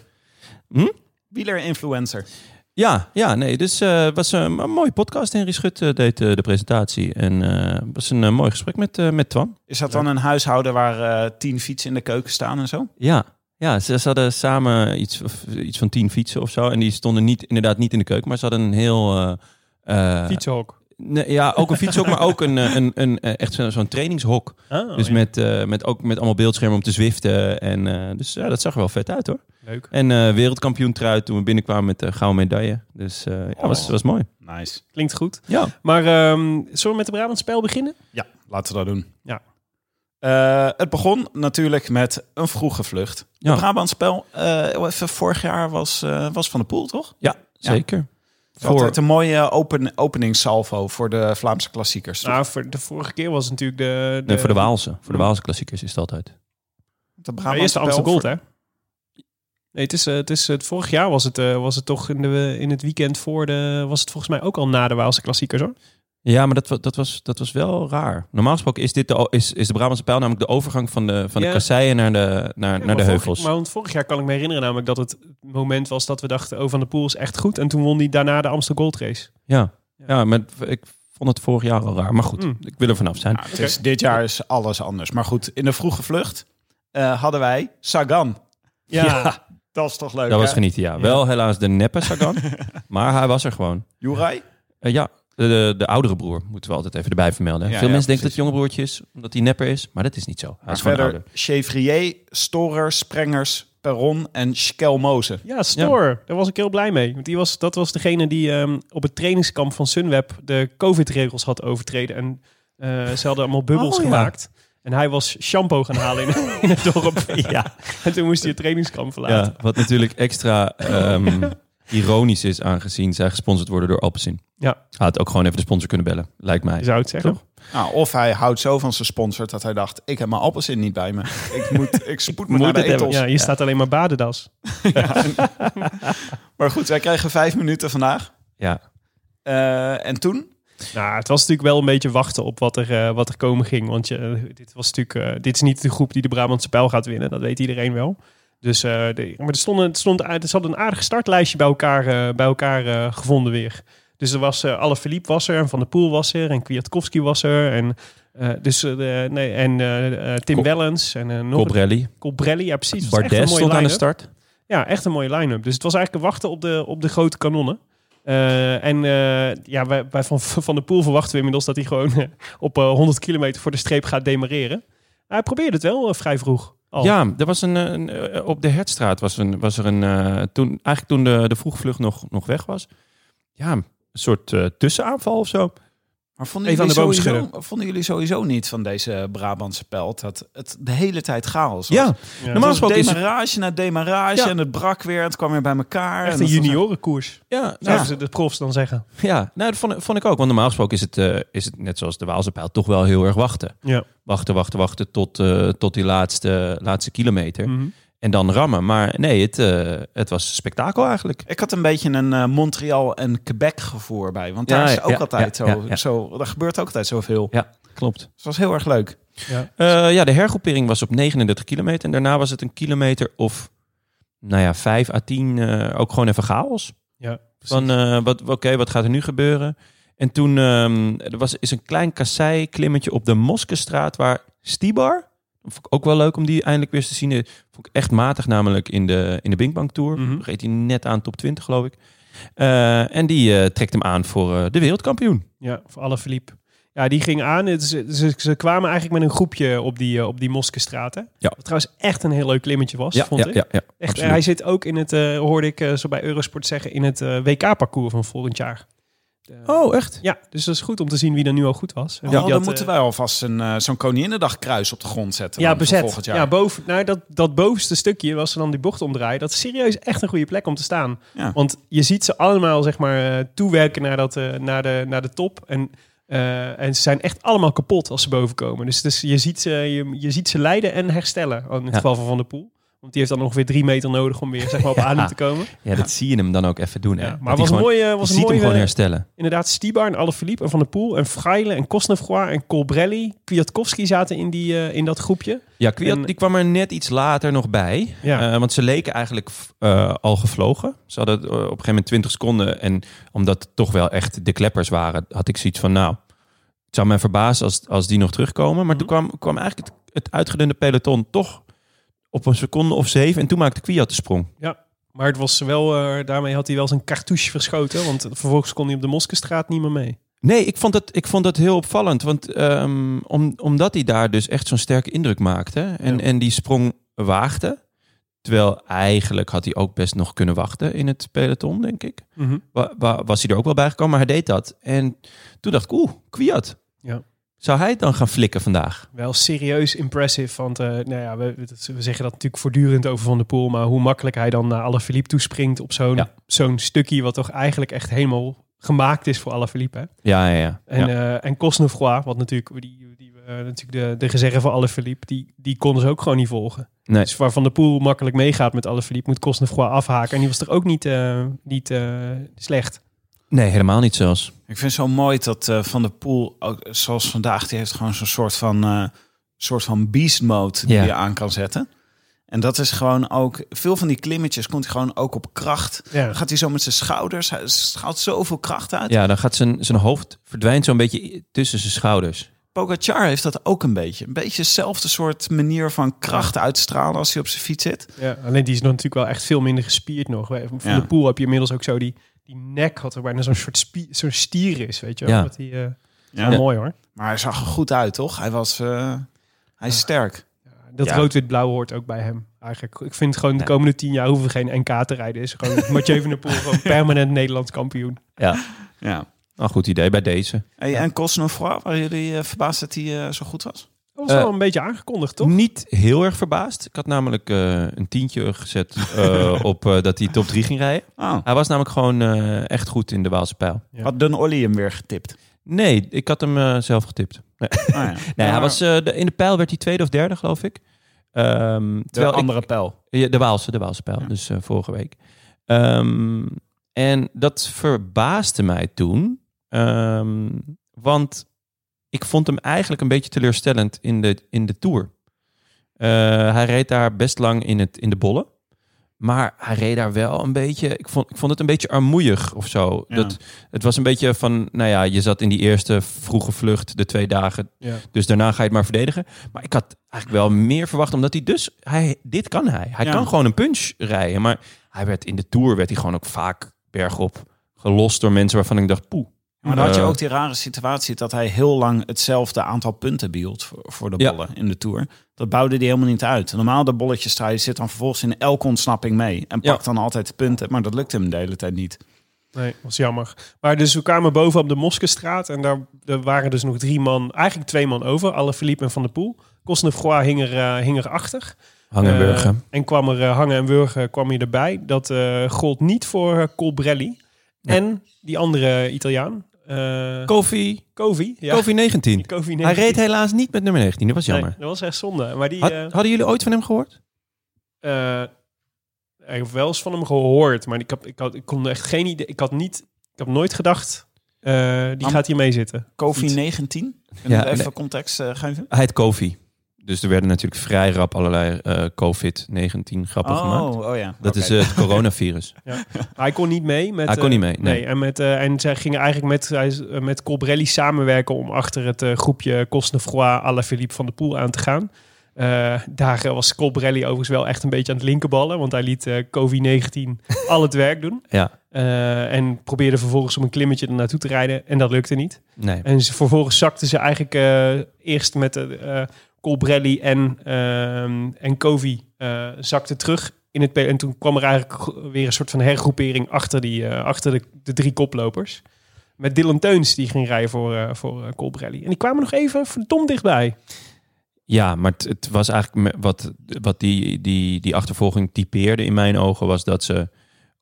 S1: Hm?
S5: Wieler-influencer.
S1: Ja, ja, nee. Dus eh, het was een, een mooie podcast. Henry Schut eh, deed eh, de presentatie. En eh, het was een eh, mooi gesprek met, eh, met Twan.
S5: Is dat dan een huishouden waar eh, tien fietsen in de keuken staan en zo?
S1: Ja, ja ze, ze hadden samen iets, of- iets van tien fietsen of zo. En die stonden niet, inderdaad niet in de keuken. Maar ze hadden een heel... eh, eh,
S2: Fietshok.
S1: nee, ja, ook een fietshok, maar ook een, eh, een, een, eh, echt zo- zo'n trainingshok.
S2: Ah,
S1: dus
S2: ja.
S1: met, eh, met, ook met allemaal beeldschermen om te zwiften. En, eh, dus ja, dat zag er wel vet uit hoor.
S2: Leuk.
S1: En eh wereldkampioen trui toen we binnenkwamen met de gouden medaille. Dus eh, ja, was, was mooi.
S5: Nice.
S2: Klinkt goed.
S1: Ja.
S2: Maar ehm, zullen we met de Brabantspel beginnen?
S5: Ja, laten we dat doen.
S2: Ja.
S5: Eh, het begon natuurlijk met een vroege vlucht.
S1: Ja.
S5: De Brabantspel, eh, even vorig jaar was, eh, was van de pool, toch?
S1: Ja, zeker.
S5: Altijd een mooie open, openingssalvo voor de Vlaamse klassiekers. toch?
S2: Nou, voor de vorige keer was het natuurlijk de... de
S1: Nee, voor de Waalse. Voor de Waalse klassiekers is het altijd.
S5: De
S2: Ja, eerst de
S5: Brabantspel
S2: Amstel Gold,
S5: voor-
S2: hè? Nee, het is, eh, het is, het vorig jaar was het, eh, was het toch in, de, in het weekend voor de... Was het volgens mij ook al na de Waalse klassiekers, hoor.
S1: Ja, maar dat, wa- dat, was, dat was wel raar. Normaal gesproken is, dit de, o- is, is de Brabantse pijl namelijk de overgang van de, van de
S2: Ja.
S1: kasseien naar de, naar,
S2: Ja,
S1: naar de
S2: maar vorig-
S1: heuvels.
S2: maar want vorig jaar kan ik me herinneren namelijk dat het moment was dat we dachten... Oh, Van der Poel is echt goed. En toen won hij daarna de Amstel Gold Race.
S1: Ja, ja maar ik vond het vorig jaar al raar. Maar goed,
S2: Mm.
S1: ik wil er vanaf zijn.
S5: Nou, het is, dit jaar is alles anders. Maar goed, in de vroege vlucht eh, hadden wij Sagan.
S2: Ja.
S5: Dat is toch leuk,
S1: dat was
S5: hè?
S1: genieten, ja. Wel helaas de neppe Sagan, maar hij was er gewoon.
S5: Juraj?
S1: Eh, ja, de, de, de oudere broer moeten we altijd even erbij vermelden.
S5: Ja,
S1: Veel
S5: ja,
S1: mensen denken dat
S5: precies.
S1: het jonge broertje is, omdat hij nepper is. Maar dat is niet zo. Hij is gewoon
S5: Verder
S1: ouder.
S5: Chevrier, Storer, Sprengers, Perron en Skelmoze.
S2: Ja, Store. Daar was ik heel blij mee. Want die was, dat was degene die ehm, op het trainingskamp van Sunweb de COVID-regels had overtreden. En eh, ze hadden allemaal bubbels
S1: Oh, ja.
S2: gemaakt. En hij was shampoo gaan halen in, in het dorp. Ja. En toen moest hij het trainingskamp verlaten.
S1: Ja, wat natuurlijk extra ehm, ironisch is, aangezien zij gesponsord worden door Alpecin.
S2: Ja.
S1: Hij had ook gewoon even de sponsor kunnen bellen, lijkt mij.
S2: Je zou het zeggen.
S1: Toch?
S5: Nou, of hij houdt zo van zijn sponsor dat hij dacht... ik heb mijn appels in niet bij me. Ik, moet, ik spoed me
S1: Moet
S5: naar de
S1: het hebben,
S5: etels.
S2: Ja, hier staat alleen maar badendas.
S5: Maar goed, wij krijgen vijf minuten vandaag.
S1: Ja.
S5: Eh, en toen?
S2: Nou, het was natuurlijk wel een beetje wachten op wat er, eh, wat er komen ging. Want je, dit, was natuurlijk, eh, dit is niet de groep die de Brabantse pijl gaat winnen. Dat weet iedereen wel. Dus, eh, de- maar er, stonden, het stond, uit- ze hadden een aardig startlijstje bij elkaar, eh, bij elkaar eh, gevonden weer. Dus er was eh alle Philippe was er en Van der Poel was er en Kwiatkowski was er. En, eh, dus, eh, de- nee, en eh, eh, Tim
S1: Kop-
S2: Wellens en eh, nog een-
S1: Cobrelli.
S2: Colbrelli, ja precies. Het was echt een
S1: Bardet
S2: mooie
S1: stond aan de
S2: line-up.
S1: start.
S2: Ja, echt een mooie line-up. Dus het was eigenlijk wachten op de, op de grote kanonnen. Eh, en eh, ja, bij, bij van, van der Poel verwachten we inmiddels dat hij gewoon eh, op eh, 100 kilometer voor de streep gaat demareren. Maar hij probeerde het wel eh, vrij vroeg. Al.
S1: Ja, er was een, eh, een, eh, op de Hertstraat was, een, was er een... eh, toen, eigenlijk toen de, de vroegvlucht nog, nog weg was. Ja, een soort eh, tussenaanval of zo.
S5: Maar vonden
S2: Even aan
S5: jullie,
S2: de boom
S5: sowieso, vonden jullie sowieso niet van deze Brabantse pelt dat het de hele tijd chaos was?
S1: Ja, normaal
S5: Het was
S1: gesproken is het...
S5: demarage na demarage
S1: Ja.
S5: en het brak weer en het kwam weer bij elkaar.
S2: Echt
S5: en
S2: een
S5: dat was-
S2: juniorenkoers,
S1: Ja, nou,
S2: zouden ze de profs dan zeggen.
S1: Ja, nou, dat vond, vond ik ook. Want normaal gesproken is het, eh, is het, net zoals de Waalse pijl, toch wel heel erg wachten.
S2: Ja.
S1: Wachten, wachten, wachten tot, eh, tot die laatste, laatste kilometer.
S2: Mhm.
S1: En dan rammen. Maar nee, het, eh, het was spektakel eigenlijk.
S5: Ik had een beetje een eh, Montreal en Quebec gevoel bij. Want
S1: Ja,
S5: daar is
S1: ja,
S5: ook
S1: ja,
S5: altijd
S1: ja,
S5: zo,
S1: ja, ja.
S5: zo... Daar gebeurt ook altijd zoveel.
S1: Ja, klopt.
S5: Dus dat was heel erg leuk.
S1: Eh, ja, de hergroepering was op 39 kilometer. En daarna was het een kilometer of, nou ja, 5 à 10. eh, ook gewoon even chaos.
S2: Ja,
S1: Van, eh, wat, oké, wat gaat er nu gebeuren? En toen ehm, er was, is een klein kassei-klimmetje op de Moskestraat waar Stibar, vond ik ook wel leuk om die eindelijk weer eens te zien. Eh, Vond ik echt matig namelijk in de, in de Bing Bang Tour.
S2: Mhm.
S1: Reed hij net aan top 20 geloof ik. Eh, en die eh, trekt hem aan voor eh, de wereldkampioen.
S2: Ja, voor alle verliep. Ja, die ging aan. Het is- Ze, ze kwamen eigenlijk met een groepje op die, eh, op die Moskestraat. hè?
S1: Ja.
S2: Wat trouwens echt een heel leuk klimmetje was, vond ik.
S1: ja,
S2: Echt,
S1: absoluut.
S2: hij zit ook in het, eh, hoorde ik eh, zo bij Eurosport zeggen, in het WK-parcours van volgend jaar.
S1: Oh, echt?
S2: Ja, dus dat is goed om te zien wie er nu al goed was. En
S5: Ja,
S2: wie
S5: Oh, dan
S2: dat,
S5: moeten
S2: eh,
S5: wij alvast een, eh, zo'n Koninginnedag kruis op de grond zetten.
S2: ja,
S5: dan voor
S2: bezet.
S5: Volgend jaar.
S2: Ja, boven, nou, dat, dat bovenste stukje, was ze dan die bocht omdraaien, dat is serieus echt een goede plek om te staan.
S5: Ja.
S2: Want je ziet ze allemaal zeg maar, eh, toewerken naar, dat, eh, naar, de, naar de top. En, eh, en ze zijn echt allemaal kapot als ze boven komen. Dus, dus je, ziet ze, je, je ziet ze lijden en herstellen. In het
S1: Ja.
S2: geval van Van der Poel. Want die heeft dan ongeveer drie meter nodig om weer zeg maar, op adem te komen.
S1: Ja, dat zie je hem dan ook even doen.
S2: Ja,
S1: hè.
S2: maar
S1: Dat hij
S2: was een
S1: gewoon-
S2: mooie, was eh,
S1: je
S2: een
S1: ziet hem
S2: mooie
S1: gewoon herstellen.
S2: inderdaad Stibar en Alaphilippe en Van der Poel en Freile en Kosnefroy en Colbrelli. Kwiatkowski zaten in, die, eh, in dat groepje.
S1: Ja, Kwiat
S2: En-
S1: die kwam er net iets later nog bij.
S2: Ja.
S1: Eh, want ze leken eigenlijk eh, al gevlogen. Ze hadden eh, op een gegeven moment 20 seconden. En omdat het toch wel echt de kleppers waren, had ik zoiets van... Nou, het zou mij verbazen als, als die nog terugkomen. Maar
S2: Mhm.
S1: toen kwam, kwam eigenlijk het, het uitgedunde peloton toch op een seconde of zeven. En toen maakte Kwiat de sprong.
S2: Maar het was wel, eh, daarmee had hij wel zijn cartouche verschoten, want vervolgens kon hij op de Moskestraat niet meer mee.
S1: Nee, ik vond dat, ik vond dat heel opvallend. Want ehm, om, omdat hij daar dus echt zo'n sterke indruk maakte. En,
S2: Ja.
S1: en die sprong waagde. Terwijl eigenlijk had hij ook best nog kunnen wachten in het peloton, denk ik. Wa- wa- was hij er ook wel bij gekomen, maar hij deed dat. En toen dacht ik, oeh, Kwiat.
S2: Ja.
S1: Zou hij het dan gaan flikken vandaag?
S2: Wel serieus impressive, want eh, nou ja, we, we zeggen dat natuurlijk voortdurend over Van der Poel, maar hoe makkelijk hij dan naar Alaphilippe toespringt op zo'n
S1: Ja.
S2: zo'n stukje wat toch eigenlijk echt helemaal gemaakt is voor Alaphilippe. hè?
S1: Ja, ja, ja.
S2: En, eh en Cosnefroy, wat natuurlijk, die, die, eh, natuurlijk de, de gezeggen van Alaphilippe, die, die konden ze ook gewoon niet volgen.
S1: Nee.
S2: Dus waar Van der Poel makkelijk meegaat met Alaphilippe, moet Cosnefroy afhaken. En die was er ook niet, eh, niet eh, slecht.
S1: Nee, helemaal niet zelfs.
S5: Ik vind het zo mooi dat eh, Van der Poel, ook, zoals vandaag, die heeft gewoon zo'n soort van, eh, soort van beast mode die
S1: Ja.
S5: je aan kan zetten. En dat is gewoon ook, veel van die klimmetjes komt hij gewoon ook op kracht.
S2: Ja.
S5: Dan gaat hij zo met zijn schouders, hij schaalt zoveel kracht uit.
S1: Ja, dan gaat zijn, zijn hoofd verdwijnt zo'n beetje i- tussen zijn schouders.
S5: Pogacar heeft dat ook een beetje. Een beetje dezelfde soort manier van kracht uitstralen als hij op zijn fiets zit.
S2: Ja, alleen die is nog natuurlijk wel echt veel minder gespierd nog. Bij Van
S5: Ja.
S2: der Poel heb je inmiddels ook zo die, die nek, had er bijna zo'n soort spie- zo'n stier is, weet je wel.
S1: Ja.
S2: Dat die, eh,
S5: Ja.
S2: wel mooi hoor.
S5: Maar hij zag er goed uit, toch? Hij was, eh, hij is sterk.
S2: Dat
S1: Ja.
S2: rood-wit-blauw hoort ook bij hem eigenlijk. Ik vind gewoon de komende tien jaar hoeven we geen NK te rijden. Is gewoon Mathieu van der Poel gewoon permanent Nederlands kampioen.
S1: Ja,
S5: Ja.
S1: nou goed idee bij deze.
S5: Hey, En Cosnefroy, waren jullie eh, verbaasd dat hij eh, zo goed was?
S2: Dat was
S1: Eh,
S2: wel een beetje aangekondigd, toch?
S1: Niet heel erg verbaasd. Ik had namelijk eh, een tientje gezet eh, op eh, dat hij top 3 ging rijden.
S5: Oh.
S1: Hij was namelijk gewoon eh, echt goed in de Waalse pijl.
S2: Ja.
S5: Had Dun Olly hem weer getipt?
S1: Nee, ik had hem eh, zelf getipt. Nee,
S5: Ah, ja.
S1: nee, hij
S5: Maar
S1: was, eh, de, in de pijl werd hij tweede of derde, geloof ik. Ehm,
S5: de
S1: terwijl ik-
S5: andere pijl.
S1: Ja, de Waalse, de Waalse pijl,
S5: Ja.
S1: dus eh, vorige week. Ehm, en dat verbaasde mij toen. Eh, Ehm, want ik vond hem eigenlijk een beetje teleurstellend in de, in de Tour. Eh, hij reed daar best lang in, het, in de bollen. Maar hij reed daar wel een beetje... Ik vond, ik vond het een beetje armoeig of zo.
S5: Ja.
S1: Dat, het was een beetje van... Nou ja, je zat in die eerste vroege vlucht de twee dagen.
S2: Ja.
S1: Dus daarna ga je het maar verdedigen. Maar ik had eigenlijk wel meer verwacht. Omdat hij dus... Hij, dit kan hij. Hij
S5: Ja.
S1: kan gewoon een punch rijden. Maar hij werd in de Tour werd hij gewoon ook vaak bergop gelost door mensen waarvan ik dacht... Poeh,
S5: Maar dan had je
S1: Eh.
S5: ook die rare situatie dat hij heel lang hetzelfde aantal punten behield voor, voor de
S1: Ja.
S5: bollen in de Tour. Dat bouwde hij helemaal niet uit. Normaal de bolletjes hij zit dan vervolgens in elke ontsnapping mee. En
S1: Ja.
S5: pakt dan altijd de punten, maar dat lukt hem de hele tijd niet.
S2: Nee, was jammer. Maar dus we kwamen boven op de Moskestraat en daar er waren dus nog drie man, eigenlijk twee man over. Alle Philippe en Van der Poel. Kosnefroy hing, er, eh, hing erachter.
S1: Hangenburger.
S2: Eh, en kwam er eh, Hangen en Wurgen kwam hier erbij. Dat eh gold niet voor eh, Colbrelli. En die andere Italiaan. eh
S1: Kofi,
S2: Covi. Ja.
S1: Kofi 19.
S2: Die
S1: Hij
S2: Covi neemt-
S1: reed helaas niet met nummer 19, dat was
S2: Nee,
S1: jammer.
S2: dat was echt zonde. Maar die...
S1: Had-
S2: eh,
S1: hadden jullie ooit van hem gehoord?
S2: eh, ik heb wel eens van hem gehoord, maar ik, heb, ik, had, ik kon echt geen idee. Ik had niet, ik heb nooit gedacht, eh, die
S5: Am-
S2: gaat hier mee zitten.
S5: Kofi
S2: Iets.
S5: 19. Kunnen we
S1: Ja,
S5: even
S1: nee.
S5: context eh, geven?
S1: Hij heet Kofi. Dus er werden natuurlijk vrij rap allerlei eh, COVID-19 grappen gemaakt.
S5: oh ja.
S1: Dat
S5: Oké.
S1: is eh, het coronavirus.
S2: Maar hij kon niet mee. Met,
S1: Hij kon
S2: eh,
S1: niet mee, nee.
S2: en, met, eh, en zij gingen eigenlijk met, hij is, eh, met Colbrelli samenwerken om achter het eh, groepje Cosnefroy à la Philippe van der Poel aan te gaan. Eh, daar eh, was Colbrelli overigens wel echt een beetje aan het linkerballen, want hij liet eh COVID-19 al het werk doen.
S1: Ja,
S2: Eh, en probeerde vervolgens om een klimmetje er naartoe te rijden en dat lukte niet.
S1: nee.
S2: En ze, vervolgens zakten ze eigenlijk eh, eerst met de, eh Colbrelli en, ehm en Covey eh, zakten terug. In het, pe- en toen kwam er eigenlijk gro- weer een soort van hergroepering achter, die, eh, achter de, de drie koplopers. Met Dylan Teuns die ging rijden voor, eh voor eh, Colbrelli. En die kwamen nog even verdomd dichtbij.
S1: Ja, maar het, het was eigenlijk me- wat, wat die, die, die achtervolging typeerde in mijn ogen, was dat ze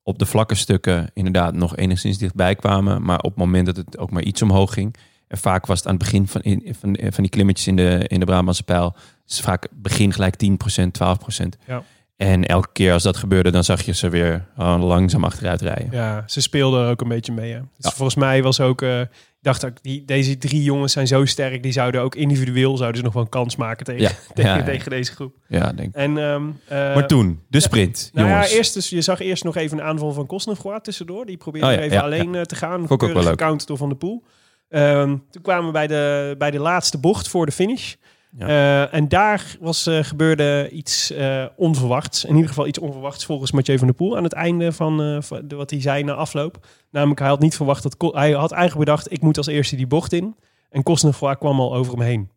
S1: op de vlakke stukken inderdaad nog enigszins dichtbij kwamen. Maar op het moment dat het ook maar iets omhoog ging. En vaak was het aan het begin van, in, van, van die klimmetjes in de, in de Brabantse pijl. is vaak begin gelijk 10%, 12%.
S2: Ja.
S1: En elke keer als dat gebeurde, dan zag je ze weer oh, langzaam achteruit rijden.
S2: Ja, ze speelden er ook een beetje mee. Hè. Dus volgens mij was ook... eh, ik dacht ook, die, deze drie jongens zijn zo sterk. Die zouden ook individueel zouden ze nog wel een kans maken tegen,
S1: Ja,
S2: tegen,
S1: ja, ja.
S2: tegen deze groep.
S1: Ja, denk ik.
S2: En, ehm, eh,
S1: maar toen, de sprint,
S2: Nou
S1: jongens.
S2: ja, eerst dus, je zag eerst nog even een aanval van Kosnefroa tussendoor. Die probeerde
S1: Oh ja,
S2: even
S1: ja,
S2: alleen eh, te gaan.
S1: ik ook wel
S2: Keurig
S1: leuk.
S2: gecounterd door Van de Poel. Ehm, toen kwamen we bij de, bij de laatste bocht voor de finish.
S1: Ja.
S2: Eh, en daar was, eh, gebeurde iets eh, onverwachts. In ieder geval iets onverwachts volgens Mathieu van der Poel aan het einde van, eh, van de- wat hij zei na afloop. Namelijk, hij had niet verwacht dat Ko- hij had eigenlijk bedacht: ik moet als eerste die bocht in. En Kosnefroa kwam al over hem heen.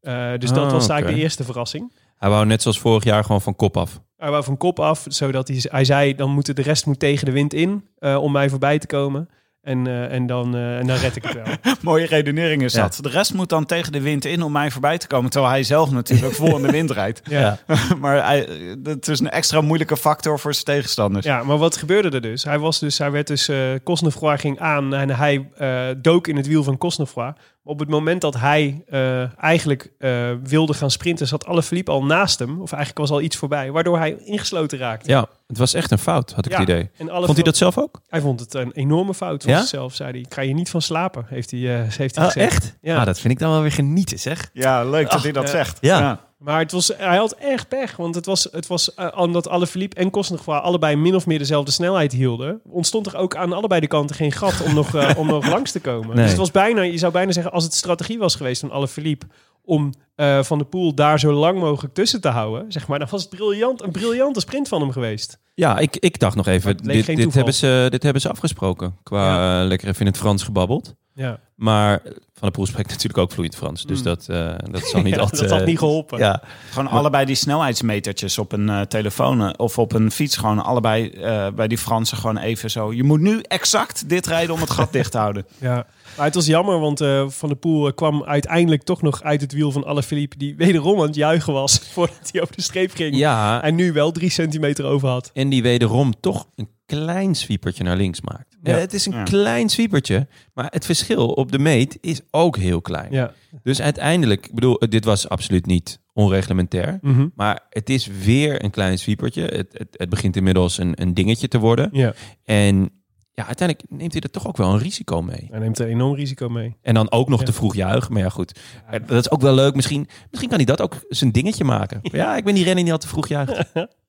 S2: Eh, dus dat
S1: Ah,
S2: was eigenlijk
S1: oké.
S2: de eerste verrassing.
S1: Hij wou net zoals vorig jaar gewoon van kop af.
S2: Hij wou van kop af, zodat hij, hij zei, dan moet de de rest moet tegen de wind in eh, om mij voorbij te komen. En, eh, en, dan, eh, en dan red ik het wel.
S5: Mooie redenering is
S1: Ja.
S5: dat. De rest moet dan tegen de wind in om mij voorbij te komen. Terwijl hij zelf natuurlijk vol in de wind rijdt.
S2: ja.
S5: maar hij, dat is een extra moeilijke factor voor zijn tegenstanders.
S2: ja, maar wat gebeurde er dus? Hij, was dus, hij werd dus, eh Cosnefroy ging aan en hij eh, dook in het wiel van Cosnefroy. Op het moment dat hij eh, eigenlijk eh, wilde gaan sprinten, zat Alaphilippe al naast hem. Of eigenlijk was al iets voorbij, waardoor hij ingesloten raakte.
S1: Ja, het was echt een fout, had ik
S2: Ja,
S1: het idee.
S2: En Alaphilippe-
S1: Vond hij dat zelf ook?
S2: Hij vond het een enorme fout van
S1: Ja?
S2: zichzelf, zei hij. Ik ga hier niet van slapen, heeft hij, eh, heeft hij gezegd.
S1: Ah, echt?
S2: Ja.
S1: Ja, dat vind ik dan wel weer genieten, zeg.
S5: Ja, leuk dat hij dat
S2: ja.
S5: zegt.
S1: Ja.
S2: Maar het was, hij had echt pech. Want het was, het was eh, omdat alle Philippe en Kostnergwa allebei min of meer dezelfde snelheid hielden. Ontstond er ook aan allebei de kanten geen gat om nog, eh, om nog langs te komen.
S1: Nee.
S2: Dus het was bijna, je zou bijna zeggen, als het strategie was geweest van alle Philippe om eh, Van de Poel daar zo lang mogelijk tussen te houden, zeg maar, dan was het briljant, een briljante sprint van hem geweest.
S1: Ja, ik, ik dacht nog even,
S2: het leek
S1: dit,
S2: geen
S1: dit,
S2: toeval.
S1: hebben ze, dit hebben ze afgesproken. Qua eh, lekker even in het Frans gebabbeld.
S2: Ja,
S1: Maar Van der Poel spreekt natuurlijk ook vloeiend Frans. Dus dat, eh, dat zal niet
S2: Mm. Ja,
S1: altijd...
S2: dat had niet geholpen.
S1: Ja,
S5: Gewoon allebei die snelheidsmetertjes op een eh, telefoon eh, of op een fiets. Gewoon allebei eh, bij die Fransen gewoon even zo. Je moet nu exact dit rijden om het gat dicht te houden.
S2: Ja, maar het was jammer, want eh, Van der Poel eh, kwam uiteindelijk toch nog uit het wiel van Alaphilippe, die wederom aan het juichen was voordat hij over de streep ging.
S1: eh, ja,
S2: En nu wel drie centimeter over had.
S1: en die wederom toch een klein zwiepertje naar links maakt.
S2: Ja.
S1: Eh, het is een
S5: Ja.
S1: klein zwiepertje, maar het verschil op de meet is ook heel klein.
S2: Ja.
S1: Dus uiteindelijk, ik bedoel, dit was absoluut niet onreglementair.
S2: Mhm.
S1: Maar het is weer een klein zwiepertje. Het, het, het begint inmiddels een, een dingetje te worden.
S2: ja.
S1: En ja, uiteindelijk neemt hij er toch ook wel een risico mee.
S2: Hij neemt een enorm risico mee.
S1: En dan ook nog
S2: Ja.
S1: te vroeg juichen. Maar ja, goed. Eh, Dat is ook wel leuk. Misschien, misschien kan hij dat ook zijn dingetje maken. Ja, ik ben die renner die al te vroeg juicht.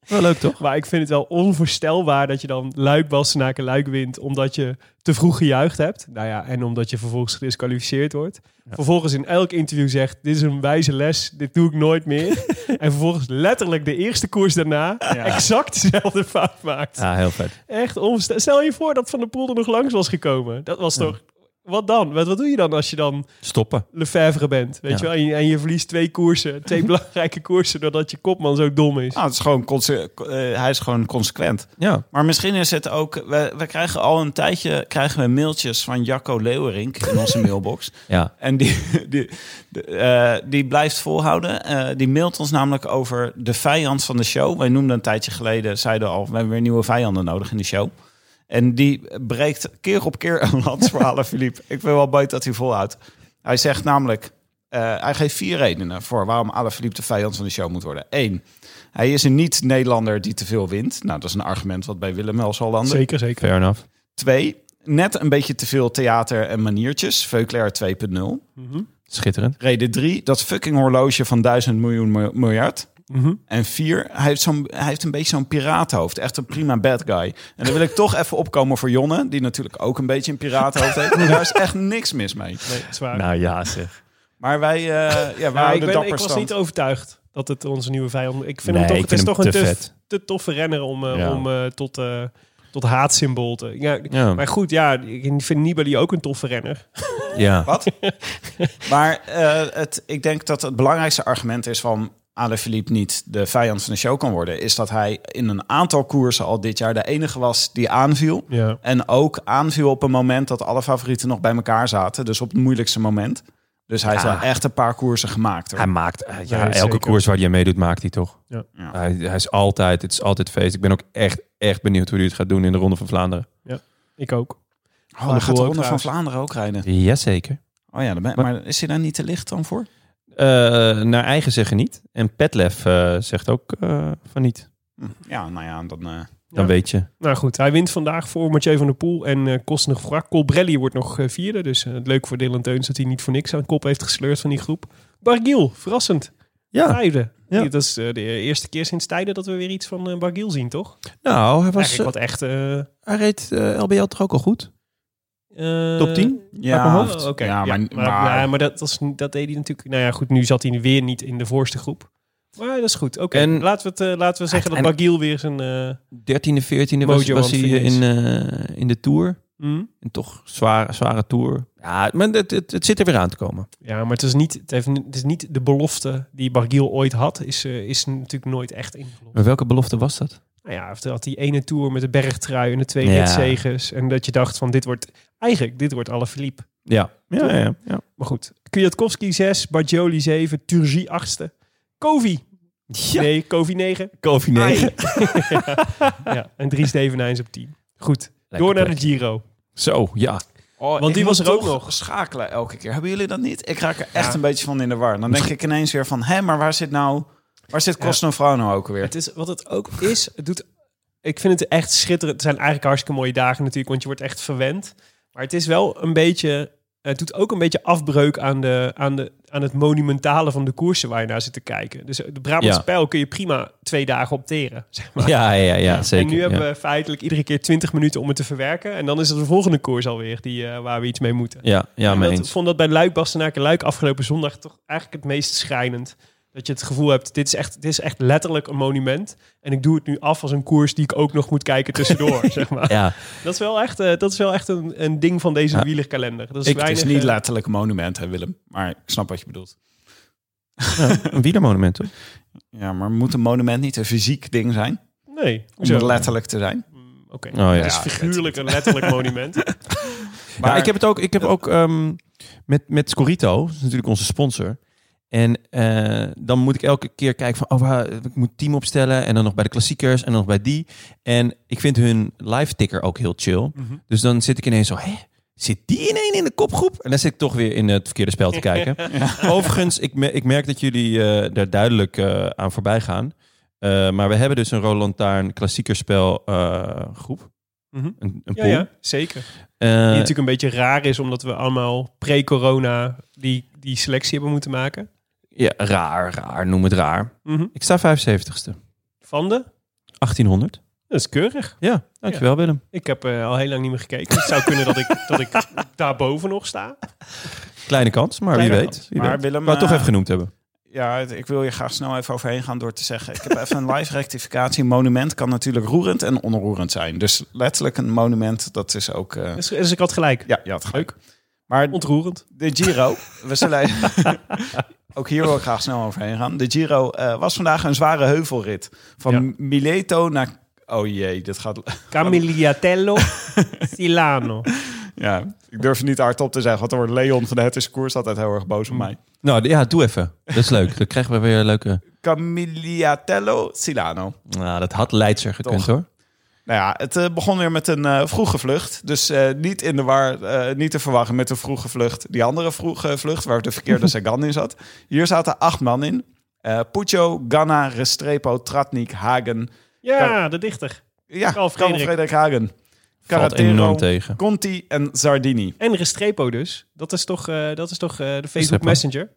S1: wel leuk, toch?
S2: Maar ik vind het wel onvoorstelbaar dat je dan Luik Bastenaken Luik wint omdat je te vroeg gejuicht hebt. Nou ja, en omdat je vervolgens gedisqualificeerd wordt. Vervolgens in elk interview zegt, dit is een wijze les, dit doe ik nooit meer. en vervolgens letterlijk de eerste koers daarna exact dezelfde fout maakt.
S1: Ja, heel vet.
S2: Echt onvoorstelbaar. Stel je voor dat Van der Poel er nog langs was gekomen. Dat was toch... Wat dan? Wat, wat doe je dan als je dan
S1: Stoppen.
S2: Lefevre bent? Weet
S1: Ja.
S2: je wel? En je, en je verliest twee koersen, twee belangrijke koersen, doordat je kopman zo dom
S1: Ah,
S2: is.
S5: Nou, het is gewoon conse- eh, hij is gewoon consequent.
S1: Ja.
S5: Maar misschien is het ook... We, we krijgen al een tijdje krijgen we mailtjes van Jacco Leeuwerink in onze mailbox.
S1: Ja.
S5: En die, die, de- eh, die blijft volhouden. Eh, die mailt ons namelijk over de vijand van de show. Wij noemden een tijdje geleden, zeiden al, we hebben weer nieuwe vijanden nodig in de show. En die breekt keer op keer een lans voor Alain Philippe. Ik ben wel buiten dat hij volhoudt. Hij zegt namelijk, eh, hij geeft vier redenen voor waarom Alain Philippe de vijand van de show moet worden. Eén, hij is een niet-Nederlander die te veel wint. Nou, dat is een argument wat bij Willem wel zal landen.
S2: Zeker, zeker.
S1: Fair enough.
S5: Twee, net een beetje te veel theater en maniertjes. Veuclair 2.0.
S1: Schitterend.
S5: Reden drie, dat fucking horloge van duizend miljoen mil- miljard.
S2: Mhm.
S5: En vier, hij heeft, zo'n, hij heeft een beetje zo'n piratenhoofd. Echt een prima bad guy. En dan wil ik toch even opkomen voor Jonne, die natuurlijk ook een beetje een piratenhoofd heeft. Maar daar is echt niks mis mee.
S2: Nee, het is waar.
S1: Nou ja, zeg.
S5: Maar wij, eh ja, wij
S2: Ja, Nou, ik,
S5: houden
S2: ben, ik
S5: dapper
S2: was
S5: stand.
S2: niet overtuigd dat het onze nieuwe vijand... Ik vind
S1: Nee,
S2: hem toch,
S1: ik
S2: het is
S1: vind
S2: toch
S1: hem
S2: een
S1: te
S2: te,
S1: vet.
S2: te toffe renner om, eh,
S1: Ja.
S2: om eh, tot, eh, tot haatsymbool te... Ja,
S1: Ja.
S2: Maar goed, ja, ik vind Nibali ook een toffe renner.
S1: Ja.
S5: Wat? maar eh, het, ik denk dat het belangrijkste argument is van Alaphilippe niet de vijand van de show kan worden, is dat hij in een aantal koersen al dit jaar de enige was die aanviel.
S2: Ja.
S5: En ook aanviel op een moment dat alle favorieten nog bij elkaar zaten. Dus op het moeilijkste moment. Dus hij heeft
S1: Ja.
S5: wel echt een paar koersen gemaakt. hoor. Oh,
S1: Hij maakt, eh, ja,
S2: Nee,
S1: elke
S2: zeker.
S1: koers waar hij aan meedoet, maakt hij toch.
S2: Ja.
S5: Ja.
S1: Hij, hij is altijd, het is altijd feest. Ik ben ook echt, echt benieuwd hoe hij het gaat doen in de Ronde van Vlaanderen.
S2: Ik ook.
S5: oh, hij gaat de
S2: ook
S5: Ronde van
S2: trouwens.
S5: Vlaanderen ook rijden.
S1: Jazeker.
S5: Oh ja, dan ben- maar is hij daar niet te licht dan voor?
S1: Eh naar eigen zeggen niet. En Petlef eh, zegt ook eh, van niet.
S5: Hm. Ja, nou ja, dan... eh,
S1: Dan
S2: Ja.
S1: weet je.
S2: Nou goed, hij wint vandaag voor Mathieu van der Poel en eh Kostner Wrak. Colbrelli wordt nog eh, vierde, dus eh, leuk voor Dylan Teuns dat hij niet voor niks aan kop heeft gesleurd van die groep. Bargiel, verrassend,
S1: Ja,
S2: vijfde.
S1: Ja.
S2: Dat is eh, de eerste keer sinds tijden dat we weer iets van eh, Bargiel zien, toch?
S1: nou, hij, was,
S2: Eigenlijk wat echt... eh,
S1: hij reed eh, LBL toch ook al goed?
S2: eh,
S1: Top 10?
S5: ja,
S1: mijn
S2: Oh, oké.
S5: ja, maar,
S2: maar,
S5: maar-
S2: ja, maar dat, was, niet- dat deed hij natuurlijk. Nou ja, goed, nu zat hij weer niet in de voorste groep. Maar dat is goed. Oké,
S1: En-
S2: laten we, het, eh, laten we zeggen dat
S1: Ah, en-
S2: Bagiel weer zijn. eh,
S1: 13e, 14e was,
S2: Mojo
S1: was
S2: aan
S1: hij
S2: het
S1: eh, in,
S2: verliezen.
S1: eh, in de Tour.
S2: hm?
S1: En toch zware, zware Tour. Ja, maar het, het, het zit er weer aan te komen.
S2: Ja, maar het is, niet, het, heeft, het is niet de belofte die Bagiel ooit had. Is, eh, is natuurlijk nooit echt ingelopen.
S1: Maar welke belofte was dat?
S2: Nou ja, hij had die ene tour met de bergtrui en de twee
S1: Ja.
S2: ritzegers. En dat je dacht van dit wordt. Eigenlijk, dit wordt alle Philippe.
S1: Ja. Ja, ja, ja, ja.
S2: Maar goed. Kwiatkowski 6, Bargioli 7, Turgi 8ste. Kovi. Nee, Kovi 9.
S1: Kofi
S2: ja, en Dries Devenijns op 10. Goed, door naar de Giro.
S1: Zo, ja.
S5: Oh,
S2: Want
S5: ik
S2: die
S5: moet
S2: was er ook
S5: toch
S2: nog.
S5: schakelen elke keer. Hebben jullie dat niet? Ik raak er echt een beetje van in de war. Dan denk ik ineens weer van... Hé, maar waar zit nou... Waar zit Cosnefro nou ook weer?
S2: Het is, wat het ook is, het doet, ik vind het echt schitterend. Het zijn eigenlijk hartstikke mooie dagen natuurlijk, want je wordt echt verwend. Maar het is wel een beetje, het doet ook een beetje afbreuk aan, de, aan, de, aan het monumentale van de koersen waar je naar zit te kijken. Dus de Brabantse
S1: Ja.
S2: Pijl kun je prima twee dagen opteren, zeg maar.
S1: Ja, ja, ja, zeker.
S2: en nu
S1: ja.
S2: hebben we feitelijk iedere keer 20 minuten om het te verwerken. En dan is het de volgende koers alweer die, eh, waar we iets mee moeten.
S1: Ja, ja, mee
S2: ik
S1: eens.
S2: vond dat bij Luik, Bastenaken, Luik afgelopen zondag toch eigenlijk het meest schrijnend. Dat je het gevoel hebt, dit is, echt, dit is echt letterlijk een monument. En ik doe het nu af als een koers die ik ook nog moet kijken tussendoor, zeg maar.
S1: Ja,
S2: Dat is wel echt, eh, dat is wel echt een, een ding van deze
S1: Ja.
S2: wielerkalender. Dat is
S5: Ik, het
S2: weinig,
S5: is niet
S2: eh,
S5: letterlijk een monument, hè Willem? Maar ik snap wat je bedoelt.
S1: een wielermonument, toch?
S5: Ja, maar moet een monument niet een fysiek ding zijn?
S2: Nee,
S5: Om
S2: hoezo? Mm,
S5: letterlijk te zijn?
S2: Oké,
S1: Oh, ja.
S2: het is
S5: Ja,
S2: figuurlijk een letterlijk monument.
S1: Maar ik heb het ook, ik heb ook ehm, met, met Scorito, dat is natuurlijk onze sponsor. En eh, dan moet ik elke keer kijken van, oh, waar- ik moet team opstellen. En dan nog bij de klassiekers en dan nog bij die. En ik vind hun live ticker ook heel chill. Dus dan zit ik ineens zo, hè? Zit die ineen in de kopgroep? En dan zit ik toch weer in het verkeerde spel te kijken. Overigens, ik, me- ik merk dat jullie eh, daar duidelijk eh, aan voorbij gaan. Eh, maar we hebben dus een Roland Taarn klassiekerspel eh, groep.
S2: Mhm.
S1: Een, een
S2: Ja,
S1: pool.
S2: ja, zeker. Die
S1: Eh,
S2: natuurlijk een beetje raar is, omdat we allemaal pre-corona die, die selectie hebben moeten maken.
S1: ja, raar, raar, noem het raar.
S2: Mhm.
S1: Ik sta 75ste.
S2: Van de?
S1: 1800.
S2: Dat is keurig.
S1: Ja, dankjewel Willem.
S2: Ik heb eh, al heel lang niet meer gekeken. Het zou kunnen dat ik, dat ik daarboven nog sta.
S1: Kleine kans, maar
S2: Kleine
S1: wie
S2: kans.
S1: weet. Wie
S5: Maar
S1: weet.
S5: Willem,
S1: Ik wou het toch
S5: eh,
S1: even genoemd hebben.
S5: Ja, het- ik wil je graag snel even overheen gaan door te zeggen. Ik heb even een live rectificatie. Een monument kan natuurlijk roerend en onroerend zijn. Dus letterlijk een monument, dat is ook... eh,
S2: Dus, dus ik had gelijk.
S5: ja, ja, het leuk. Maar
S2: Ontroerend.
S5: de Giro, we zullen... ook hier wil ik graag snel overheen gaan. De Giro eh, was vandaag een zware heuvelrit. Van
S2: Ja.
S5: Mileto naar... Oh jee, dit gaat...
S2: Camilliatello Silano.
S5: Ja, ik durf het niet hardop te zeggen, want dan wordt Leon van de Het is Koers altijd heel erg boos op mij.
S1: Nou d- ja, doe even. Dat is leuk. Dan krijgen we weer een leuke...
S5: Camilliatello Silano.
S1: Nou, dat had Leidser gekund
S5: Toch.
S1: hoor.
S5: Nou ja, het eh, begon weer met een eh, vroege vlucht. Dus eh, niet in de war, eh, niet te verwachten met een vroege vlucht. Die andere vroege vlucht, waar de verkeerde Sagan in zat. Hier zaten acht man in. Eh Puccio, Ganna, Restrepo, Tratnik, Hagen.
S2: Ja, de dichter.
S5: Ja,
S2: Karl
S5: Karl
S2: Frederik.
S5: Frederik, Hagen.
S1: Valt
S5: Carretero,
S1: enorm tegen.
S5: Conti en Zardini.
S2: En Restrepo dus. Dat is toch, eh, dat is toch eh, de Facebook
S1: Restrepo.
S2: Messenger.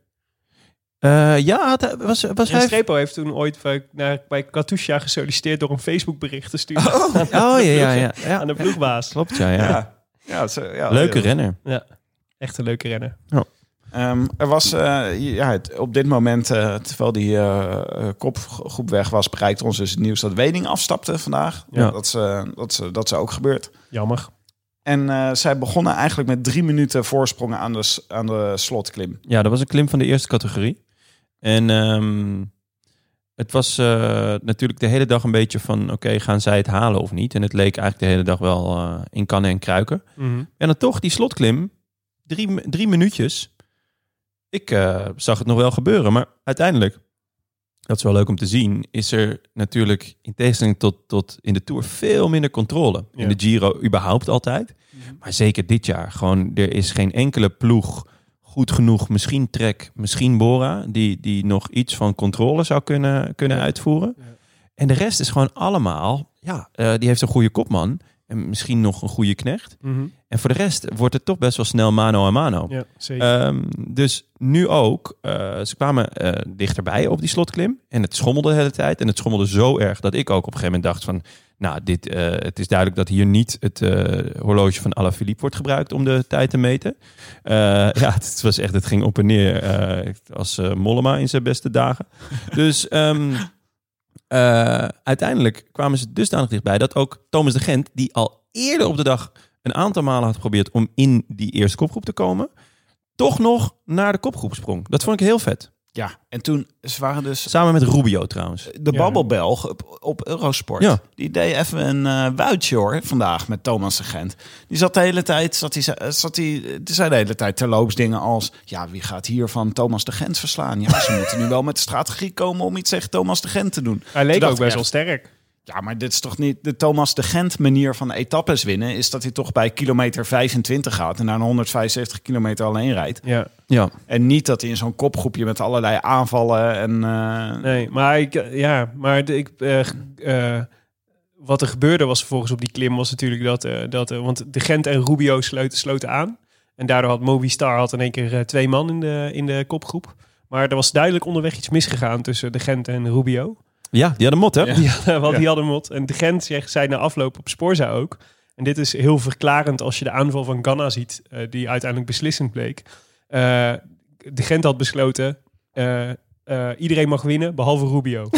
S1: Eh, ja, het- was, was hij...
S2: Restrepo heeft toen ooit bij, naar, bij Katusha gesolliciteerd door een Facebook bericht te sturen
S1: Oh ja, ja, ja. ja.
S2: aan de ploegbaas.
S1: Klopt, ja, ja.
S5: Ja. Ja, zo- ja,
S1: Leuke
S5: ja.
S1: renner.
S2: Echt een leuke renner.
S5: Ehm, er was eh, ja, het- op dit moment, eh, terwijl die eh, eh, kopgroep weg was, bereikt ons dus het nieuws dat Wening afstapte vandaag.
S1: Ja.
S5: Dat, is, eh, dat, is, eh, dat is ook gebeurd.
S2: Jammer.
S5: En eh, zij begonnen eigenlijk met drie minuten voorsprong aan de, s- aan de slotklim.
S1: Ja, dat was een klim van de eerste categorie. En ehm, het was eh, natuurlijk de hele dag een beetje van... oké, gaan zij het halen of niet? En het leek eigenlijk de hele dag wel eh, in kannen en kruiken.
S5: Mhm.
S1: En dan toch die slotklim, drie, drie minuutjes. Ik eh, zag het nog wel gebeuren, maar uiteindelijk... dat is wel leuk om te zien... is er natuurlijk in tegenstelling tot, tot in de Tour veel minder controle. In
S2: Ja.
S1: de Giro überhaupt altijd. Maar zeker dit jaar. Gewoon, er is geen enkele ploeg goed genoeg. Misschien Trek, misschien Bora. Die, die nog iets van controle zou kunnen, kunnen uitvoeren. En de rest is gewoon allemaal... Ja, eh, die heeft een goede kopman. En misschien nog een goede knecht. En voor de rest wordt het toch best wel snel mano a mano.
S2: Mhm. Ja,
S5: Eh,
S2: zeker.
S1: Ehm, dus nu ook, eh, ze kwamen eh, dichterbij op die slotklim. En het schommelde de hele tijd. En het schommelde zo erg dat ik ook op een gegeven moment dacht van... Nou, dit, eh, het is duidelijk dat hier niet het eh, horloge van Alaphilippe wordt gebruikt om de tijd te meten. Eh, ja, het, was echt, het ging op en neer eh, als eh, Mollema in zijn beste dagen. Dus ehm, eh, uiteindelijk kwamen ze dusdanig dichtbij dat ook Thomas de Gent, die al eerder op de dag een aantal malen had geprobeerd om in die eerste kopgroep te komen, toch nog naar de kopgroep sprong. Dat vond ik heel vet.
S5: Ja, en toen ze waren dus
S1: Samen met Rubio trouwens.
S5: de
S2: Ja.
S5: babbelbelg op, op Eurosport.
S1: Ja.
S5: Die deed even een eh wuitje hoor, vandaag met Thomas de Gent. Die zat de hele tijd, zat die, zat die, die zei de hele tijd terloops dingen als... Ja, wie gaat hier van Thomas de Gent verslaan? Ja, ze moeten nu wel met de strategie komen om iets tegen Thomas de Gent te doen.
S2: Hij
S5: Toen
S2: leek
S5: dacht
S2: ook
S5: ik
S2: best wel
S5: echt,
S2: sterk.
S5: Ja, maar dit is toch niet de Thomas de Gent manier van etappes winnen? Is dat hij toch bij kilometer 25 gaat en naar een 175 kilometer alleen rijdt?
S2: Ja.
S1: Ja,
S5: En niet dat hij in zo'n kopgroepje met allerlei aanvallen en... eh,
S2: Nee, maar ik, ja, maar de- ik, eh, eh, wat er gebeurde was vervolgens op die klim was natuurlijk dat, eh, dat eh, want de Gent en Rubio sloten, sloten aan. En daardoor had Movistar had in één keer eh, twee man in de, in de kopgroep. Maar er was duidelijk onderweg iets misgegaan tussen de Gent en Rubio.
S1: ja die hadden mot hè?
S2: Die hadden, want die hadden mot. En de Gent zeg, zei na afloop op Sporza ook. En dit is heel verklarend als je de aanval van Ganna ziet, eh, die uiteindelijk beslissend bleek. Eh, de Gent had besloten, eh, eh, iedereen mag winnen, behalve Rubio.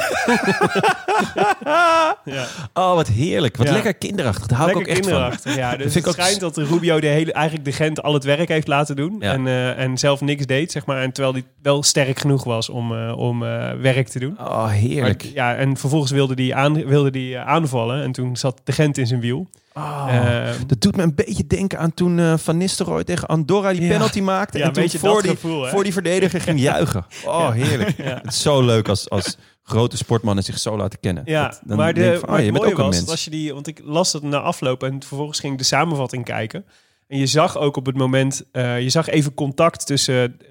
S2: ja.
S1: Oh, wat heerlijk. Wat
S2: Ja.
S1: lekker kinderachtig. Daar hou ik ook echt van.
S2: kinderachtig. Ja, dus
S1: vind
S2: het
S1: ik ook-
S2: schijnt dat de Rubio de hele, eigenlijk de Gent al het werk heeft laten doen.
S1: Ja.
S2: En, eh, en zelf niks deed, zeg maar. En terwijl hij wel sterk genoeg was om, eh, om eh, werk te doen.
S1: Oh, heerlijk.
S2: Maar, ja, en vervolgens wilde die, aan, wilde die eh, aanvallen. En toen zat de Gent in zijn wiel.
S1: Oh.
S2: Eh,
S1: Dat doet me een beetje denken aan toen eh, Van Nistelrooy tegen Andorra die
S2: Ja.
S1: penalty maakte.
S2: Ja,
S1: en
S2: een
S1: toen
S2: beetje
S1: voor
S2: dat
S1: die,
S2: gevoel, hè?
S1: voor die verdediger ging juichen. Oh, heerlijk. Het is zo leuk als, als grote sportmannen zich zo laten kennen.
S2: ja,
S1: Dat- dan
S2: maar, de,
S1: denk ik van, oh,
S2: maar het
S1: je bent
S2: mooie
S1: ook een
S2: was,
S1: mens.
S2: dat als je die, want ik las dat na afloop en vervolgens ging ik de samenvatting kijken. En je zag ook op het moment, eh, je zag even contact tussen eh,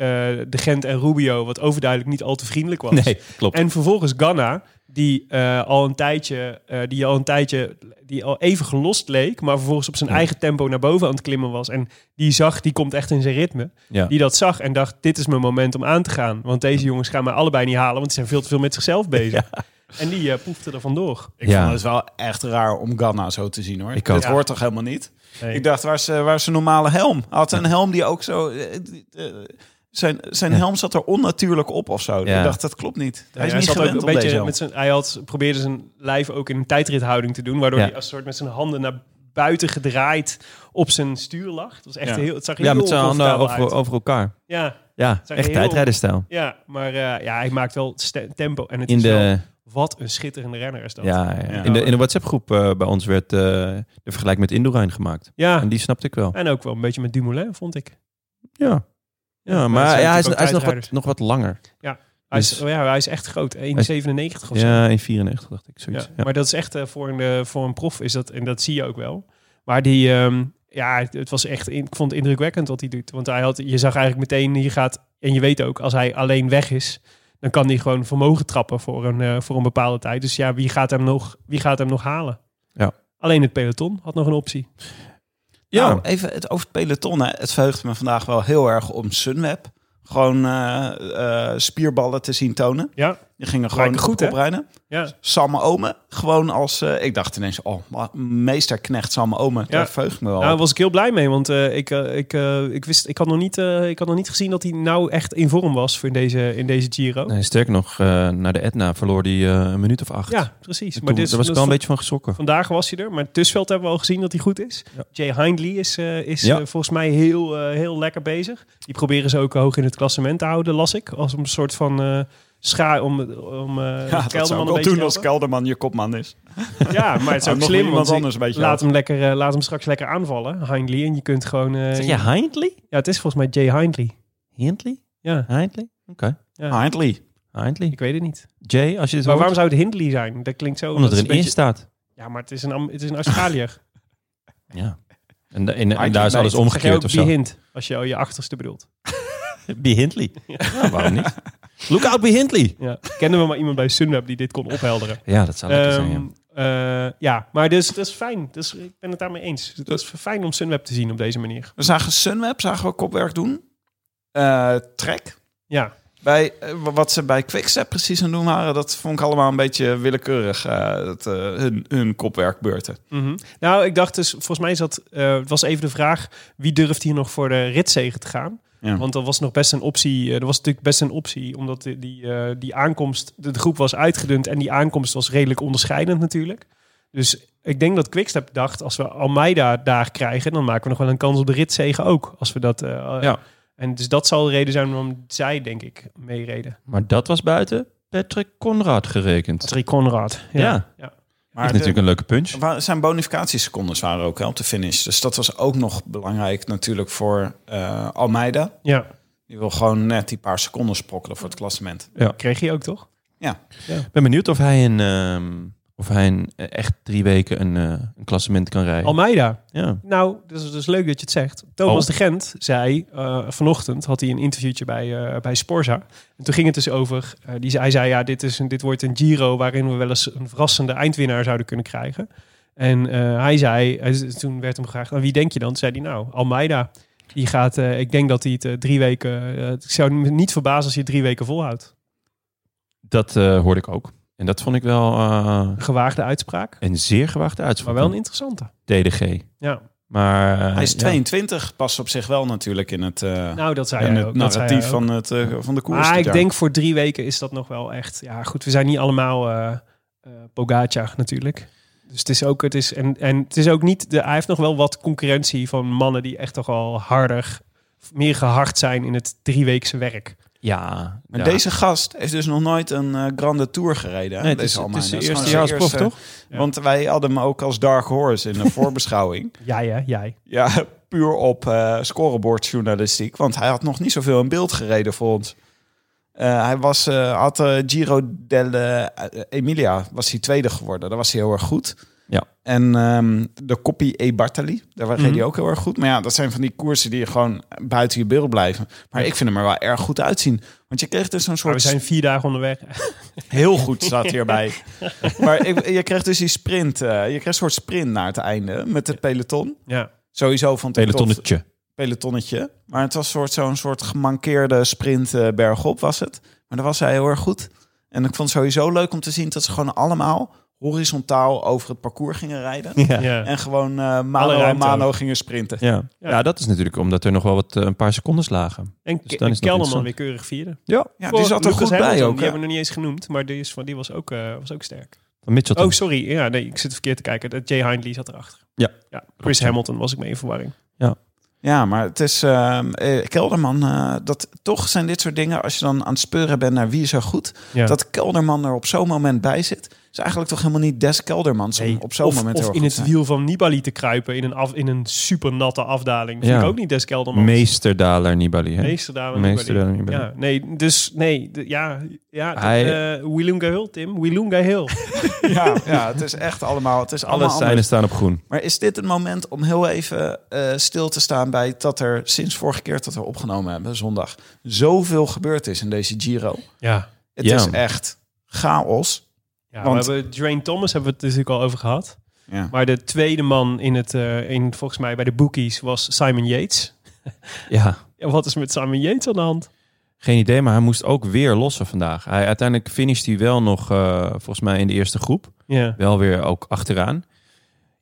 S2: de Gent en Rubio, wat overduidelijk niet al te vriendelijk was.
S1: Nee, klopt.
S2: En vervolgens Ganna, die, eh, al een tijdje, eh, die al een tijdje die al even gelost leek, maar vervolgens op zijn eigen tempo naar boven aan het klimmen was. En die zag, die komt echt in zijn ritme.
S1: Ja.
S2: Die dat zag en dacht, dit is mijn moment om aan te gaan. Want deze jongens gaan mij allebei niet halen, want die zijn veel te veel met zichzelf bezig. En die eh, poefde er vandoor.
S5: Ik
S1: Ja.
S5: vond het wel echt raar om Ganna zo te zien hoor.
S1: Ik
S5: Ik
S1: ook.
S5: Dit
S1: Ja.
S5: hoort toch helemaal niet?
S2: Nee.
S5: Ik dacht, waar is, eh, waar is zijn normale helm? Hij had een helm die ook zo... eh, eh, zijn zijn helm zat er onnatuurlijk op of zo.
S1: Ja.
S5: Ik dacht, dat klopt niet. Hij is
S2: Ja, hij
S5: niet
S2: zat ook
S5: gewend
S2: een
S5: op deze
S2: beetje
S5: helm.
S2: met zijn, hij had, probeerde zijn lijf ook in een tijdrithouding te doen, waardoor
S1: Ja.
S2: hij als soort met zijn handen naar buiten gedraaid op zijn stuur lag. Het was echt
S5: Ja.
S2: heel, het zag er
S1: Ja,
S2: heel
S1: met zijn handen
S2: oncomfortabel
S1: over,
S2: uit.
S1: over elkaar.
S2: Ja,
S1: Ja,
S2: Zag
S1: echt
S2: heel-
S1: tijdrijdenstijl.
S2: ja, maar eh, ja, hij maakt wel ste- tempo en het
S1: In
S2: is wel,
S1: de,
S2: wat een schitterende renner is dat.
S1: ja, ja. In de, in de WhatsApp-groep eh, bij ons werd eh, de vergelijking met Indoorijn gemaakt.
S2: Ja,
S1: En die snapte ik wel.
S2: en ook wel een beetje met Dumoulin vond ik.
S1: Ja, ja
S2: maar
S1: maar
S2: het zijn
S1: ja, hij is, hij is
S2: natuurlijk ook
S1: nog, wat,
S2: tijdrijders.
S1: nog wat langer.
S2: Hij is,
S1: Dus-
S2: oh ja, hij is echt groot, 1,97 of zo.
S1: Ja, in 94 dacht ik,
S2: Ja,
S1: zoiets. Ja.
S2: Maar dat is echt eh, voor, een, eh, voor een prof is dat, en dat zie je ook wel. Maar die, ehm, ja, het, het was echt, in- ik vond het indrukwekkend wat hij doet. Want hij had, je zag eigenlijk meteen, hier gaat, en je weet ook, als hij alleen weg is, dan kan hij gewoon vermogen trappen voor een, eh, voor een bepaalde tijd. Dus ja, wie gaat hem nog, wie gaat hem nog halen?
S1: Ja.
S2: Alleen het peloton had nog een optie.
S1: Ja.
S5: Nou, even het over het peloton. Hè. Het verheugt me vandaag wel heel erg om Sunweb. Gewoon eh, eh, spierballen te zien tonen.
S2: Ja,
S5: Die gingen gewoon
S2: Lijken
S5: goed
S2: goed, hè?
S5: oprijden.
S2: ja.
S5: Samme Ome, gewoon als... eh, ik dacht ineens, oh, ma- meesterknecht Samme Ome. Daar verheugt me wel
S2: Nou, daar
S5: op.
S2: was ik heel blij mee, want eh, ik, eh, ik, eh, ik, wist, ik, had nog niet, eh, ik had nog niet gezien dat hij nou echt in vorm was voor in deze, in deze Giro.
S1: Nee, sterker nog, eh, naar de Etna verloor hij eh, een minuut of acht.
S2: Ja, precies.
S1: maar
S2: dit-
S1: daar was ik wel
S2: dat
S1: een
S2: is-
S1: beetje van geschrokken.
S2: Vandaag was hij er, maar Tussveld hebben we al gezien dat hij goed is.
S1: Ja.
S2: Jay Hindley is, eh, is
S1: Ja.
S2: eh, volgens mij heel, eh, heel lekker bezig. Die proberen ze ook eh, hoog in het klassement te houden, las ik. Als een soort van eh scha om, om eh,
S5: Ja, dat zou ik
S2: Kelderman
S5: wel
S2: een beetje
S5: doen
S2: te
S5: als
S2: helpen.
S5: Kelderman je kopman is.
S2: Ja, maar het is
S5: Hou
S2: ook
S5: nog
S2: slim,
S5: iemand
S2: want
S5: anders een beetje
S2: laat
S5: helpen.
S2: hem, lekker, eh, laat hem straks lekker aanvallen, Hindley. En je kunt gewoon... eh,
S1: Zeg je Hindley?
S2: Ja, het is volgens mij Jay Hindley.
S1: Hindley?
S2: Ja,
S1: Hindley? Oké.
S2: Ja.
S5: Hindley.
S1: Hindley.
S2: ik weet het niet.
S1: Jay, als je dit
S2: Maar
S1: hoort,
S2: waarom zou het Hindley zijn? Dat klinkt zo...
S1: omdat
S2: dat
S1: er
S2: is
S1: een
S2: een beetje-
S1: in staat.
S2: Ja, maar het is een, Am- het is een Australiër.
S1: Ja. En, da- en, en
S5: Hindley
S1: daar is alles
S5: weet.
S2: Zeg je
S1: omgekeerd
S2: ook
S1: of
S2: die
S1: zo.
S2: hint, als je je achterste bedoelt.
S1: Be Hindley. Ja, waarom niet? Look out, Be Hindley.
S2: Ja. Kennen we maar iemand bij Sunweb die dit kon ophelderen?
S1: Ja, dat zou lekker zijn. ja.
S2: Ehm, eh, ja, maar dus, dat is fijn. Dus ik ben het daarmee eens. Het is fijn om Sunweb te zien op deze manier.
S5: We zagen Sunweb, zagen we kopwerk doen. Eh Trek.
S2: Ja,
S5: Bij, eh, wat ze bij Quickstep precies aan het doen waren, dat vond ik allemaal een beetje willekeurig. eh, dat, eh, hun, hun kopwerkbeurten.
S2: Mhm. Nou, ik dacht dus, volgens mij zat, eh, het was even de vraag, wie durft hier nog voor de ritzegen te gaan?
S5: Ja.
S2: Want dat was nog best een optie. eh, Er was natuurlijk best een optie, omdat die, die, eh, die aankomst, de, de groep was uitgedund en die aankomst was redelijk onderscheidend natuurlijk. Dus ik denk dat Quickstep dacht, als we Almeida daar krijgen, dan maken we nog wel een kans op de ritzegen ook. Als we dat, eh,
S1: Ja.
S2: En dus dat zal de reden zijn waarom zij, denk ik, meereden.
S1: Maar dat was buiten Patrick Conrad gerekend.
S2: Patrick Conrad.
S1: Ja,
S5: Maar
S1: is
S5: de-
S1: natuurlijk een leuke punch.
S5: Wa- Zijn bonificatiesecondes waren ook hè, op de finish. Dus dat was ook nog belangrijk natuurlijk voor eh, Almeida.
S2: ja.
S5: Die wil gewoon net die paar seconden sprokkelen voor het klassement.
S2: Kreeg je ook, toch?
S1: Ik ben benieuwd of hij een, ehm, of hij een, eh, echt drie weken een, eh, een klassement kan rijden.
S2: Almeida.
S1: ja.
S2: Nou, dat is dus leuk dat je het zegt. Thomas
S1: Oh.
S2: de Gent zei eh, vanochtend, had hij een interviewtje bij, eh, bij Sporza. En toen ging het dus over, eh, die, zei- hij zei ja, dit, is een, dit wordt een Giro waarin we wel eens een verrassende eindwinnaar zouden kunnen krijgen. En eh, hij zei, hij z- toen werd hem gevraagd, aan wie denk je dan? Toen zei hij nou, Almeida. Die gaat, eh, ik denk dat hij het eh, drie weken, eh, ik zou me niet verbazen als hij het drie weken volhoudt.
S1: Dat eh, hoorde ik ook. En dat vond ik wel eh,
S2: Een gewaagde uitspraak,
S1: een zeer gewaagde
S2: maar
S1: uitspraak.
S2: wel een interessante.
S1: TDG.
S2: Ja,
S1: Maar, eh,
S5: Hij is
S1: ja.
S5: 22, past op zich wel natuurlijk in het, eh,
S2: nou dat zei
S5: in
S2: hij
S5: het
S2: ook. dat zei hij
S5: narratief
S2: ook.
S5: van, het, eh, van de koers.
S2: Maar
S5: dit
S2: ik
S5: jaar.
S2: denk voor drie weken is dat nog wel echt. Ja, goed, we zijn niet allemaal eh eh, Pogacar natuurlijk. Dus het is ook, het is, en, en het is ook niet, de, hij heeft nog wel wat concurrentie van mannen die echt toch al harder, meer gehard zijn in het drieweekse werk.
S1: Ja.
S5: Maar
S1: ja.
S5: deze gast heeft dus nog nooit een eh, grande tour gereden. hè?
S1: Nee, het
S5: Deze
S1: is, het
S5: Almeida.
S1: is zijn
S5: Dat is
S1: eerste jaar
S5: gewoon
S1: als
S5: zijn
S1: prof,
S5: eerste-
S1: toch?
S2: Ja.
S5: Want wij hadden hem ook als dark horse in de voorbeschouwing.
S2: Jij hè, jij.
S5: Ja, puur op eh scorebordjournalistiek. Want hij had nog niet zoveel in beeld gereden voor ons. Eh, hij was, eh, had eh, Giro delle eh, Emilia, was hij tweede geworden. Daar was hij heel erg goed.
S1: Ja.
S5: En ehm, de Coppi e Bartali, daar reed hij ook heel erg goed. Maar ja, dat zijn van die koersen die gewoon buiten je beeld blijven. Maar ik vind hem er wel erg goed uitzien. Want je kreeg dus een
S2: Maar we
S5: soort...
S2: zijn vier dagen onderweg.
S5: Heel goed staat hierbij. maar ik, je kreeg dus die sprint. eh, je kreeg een soort sprint naar het einde met het peloton.
S2: Ja.
S5: Sowieso van het
S1: Pelotonnetje.
S5: pelotonnetje. Maar het was soort, zo'n soort gemankeerde sprint eh, bergop was het. Maar daar was hij heel erg goed. En ik vond het sowieso leuk om te zien dat ze gewoon allemaal horizontaal over het parcours gingen rijden.
S1: Ja. Ja.
S2: ja.
S5: En gewoon eh
S2: Alle
S5: mano a
S2: ruimte
S5: mano
S2: ook.
S5: gingen sprinten.
S1: Ja. dat is natuurlijk omdat er nog wel wat, eh, een paar seconden lagen.
S2: En,
S1: Dus
S2: dus
S1: dan is het nog
S2: Kelderman
S1: interessant.
S2: weer keurig vierde.
S1: Ja.
S5: Ja,
S2: Voor
S5: die zat er
S2: Lucas
S5: goed bij
S2: Hamilton,
S5: ook.
S2: Die
S5: hè?
S2: hebben we nog niet eens genoemd, maar die, is, van- die was, ook, eh, was ook sterk.
S1: Van Mitchell.
S2: Oh, sorry. Ja, nee, ik zit verkeerd te kijken. Dat Jay Hindley zat erachter.
S1: Ja.
S2: ja. Chris Hamilton was ik mee in verwarring.
S5: Ja, maar het is ehm, eh, Kelderman. eh, dat, toch zijn dit soort dingen, als je dan aan het speuren bent naar wie is er goed,
S2: Ja.
S5: dat Kelderman er op zo'n moment bij zit, is eigenlijk toch helemaal niet des Keldermans om
S2: Nee,
S5: op zo'n
S2: of,
S5: moment heel
S2: of
S5: erg
S2: in
S5: goed
S2: het
S5: te zijn.
S2: wiel van Nibali te kruipen in een, af, in een super natte afdaling. Vind
S1: Ja.
S2: ik ook niet Des Kelderman.
S1: Meesterdaler Nibali. Hè?
S2: Meesterdalen
S1: Meesterdalen
S2: Nibali.
S1: Nibali.
S2: Ja, nee, dus nee, de- ja, ja de-
S1: Hij-
S2: eh, Wilunga Hill, Tim. Wilunga Hill.
S5: Ja, ja, het is echt allemaal. Het is
S1: Alle
S5: allemaal
S1: seinen
S5: anders.
S1: staan op groen.
S5: Maar is dit het moment om heel even eh, stil te staan bij dat er sinds vorige keer dat we opgenomen hebben, zondag, zoveel gebeurd is in deze Giro?
S2: ja.
S5: Het
S1: Ja.
S5: is echt chaos.
S2: ja
S5: Want-
S2: we hebben Drain Thomas, hebben we het natuurlijk al over gehad.
S5: Ja.
S2: Maar de tweede man in het, eh, in, volgens mij bij de bookies was Simon Yates.
S1: Ja.
S2: Ja, wat is met Simon Yates aan de hand?
S1: Geen idee, maar hij moest ook weer lossen vandaag. Hij, uiteindelijk finisht hij wel nog, eh, volgens mij, in de eerste groep.
S2: Ja.
S1: Wel weer ook achteraan.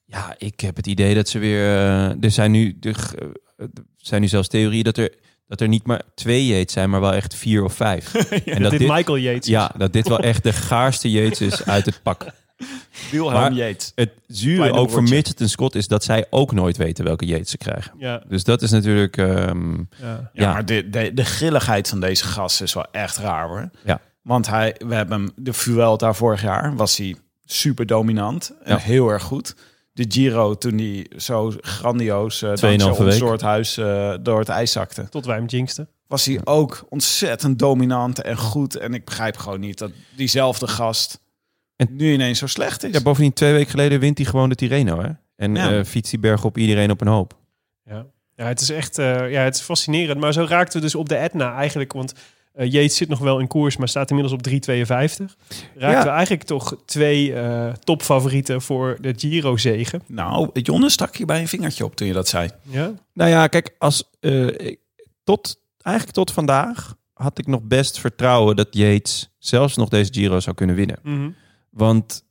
S1: Ja, ik heb het idee dat ze weer... eh, er, zijn nu, er, g- eh, er zijn nu zelfs theorieën dat er, dat er niet maar twee Yates zijn, maar wel echt vier of vijf. en
S2: dit, Michael Yates.
S1: Ja, dat dit wel echt de gaarste Yates is uit het pak. Maar-
S5: Yates.
S1: Het zure
S5: Kleine
S1: ook voor
S5: woordje.
S1: Midget en Scott is dat zij ook nooit weten welke Yates ze krijgen.
S2: Ja,
S1: Dus dat is natuurlijk... ehm,
S2: ja.
S5: Ja,
S1: Ja.
S5: maar de, de, de grilligheid van deze gast is wel echt raar hoor.
S1: Ja.
S5: Want hij, we hebben hem, de Vuelta vorig jaar was hij super dominant en
S1: Ja.
S5: heel erg goed. De Giro toen hij zo grandioos eh dankzij
S1: Tweeënhalve
S5: ons
S1: week.
S5: door het huis, eh, door het ijs zakte.
S2: Tot wij hem jinxten.
S5: Was hij ook ontzettend dominant en goed. En ik begrijp gewoon niet dat diezelfde gast
S1: En-
S5: nu ineens zo slecht is.
S1: Ja, bovendien twee weken geleden wint hij gewoon de Tirreno, hè? En
S5: Ja.
S1: eh fietst die berg op iedereen op een hoop.
S2: Ja. ja, het is echt eh, ja, het is fascinerend. Maar zo raakten we dus op de Etna eigenlijk. Want eh Yates zit nog wel in koers, maar staat inmiddels op 3,52. Raakten
S1: Ja.
S2: we eigenlijk toch twee eh, topfavorieten voor de Giro-zegen.
S5: Nou, Jonne stak je bij een vingertje op toen je dat zei.
S2: Ja?
S1: Nou ja, kijk, als, eh, ik- tot, eigenlijk tot vandaag had ik nog best vertrouwen dat Yates zelfs nog deze Giro zou kunnen winnen.
S2: Mhm.
S1: Want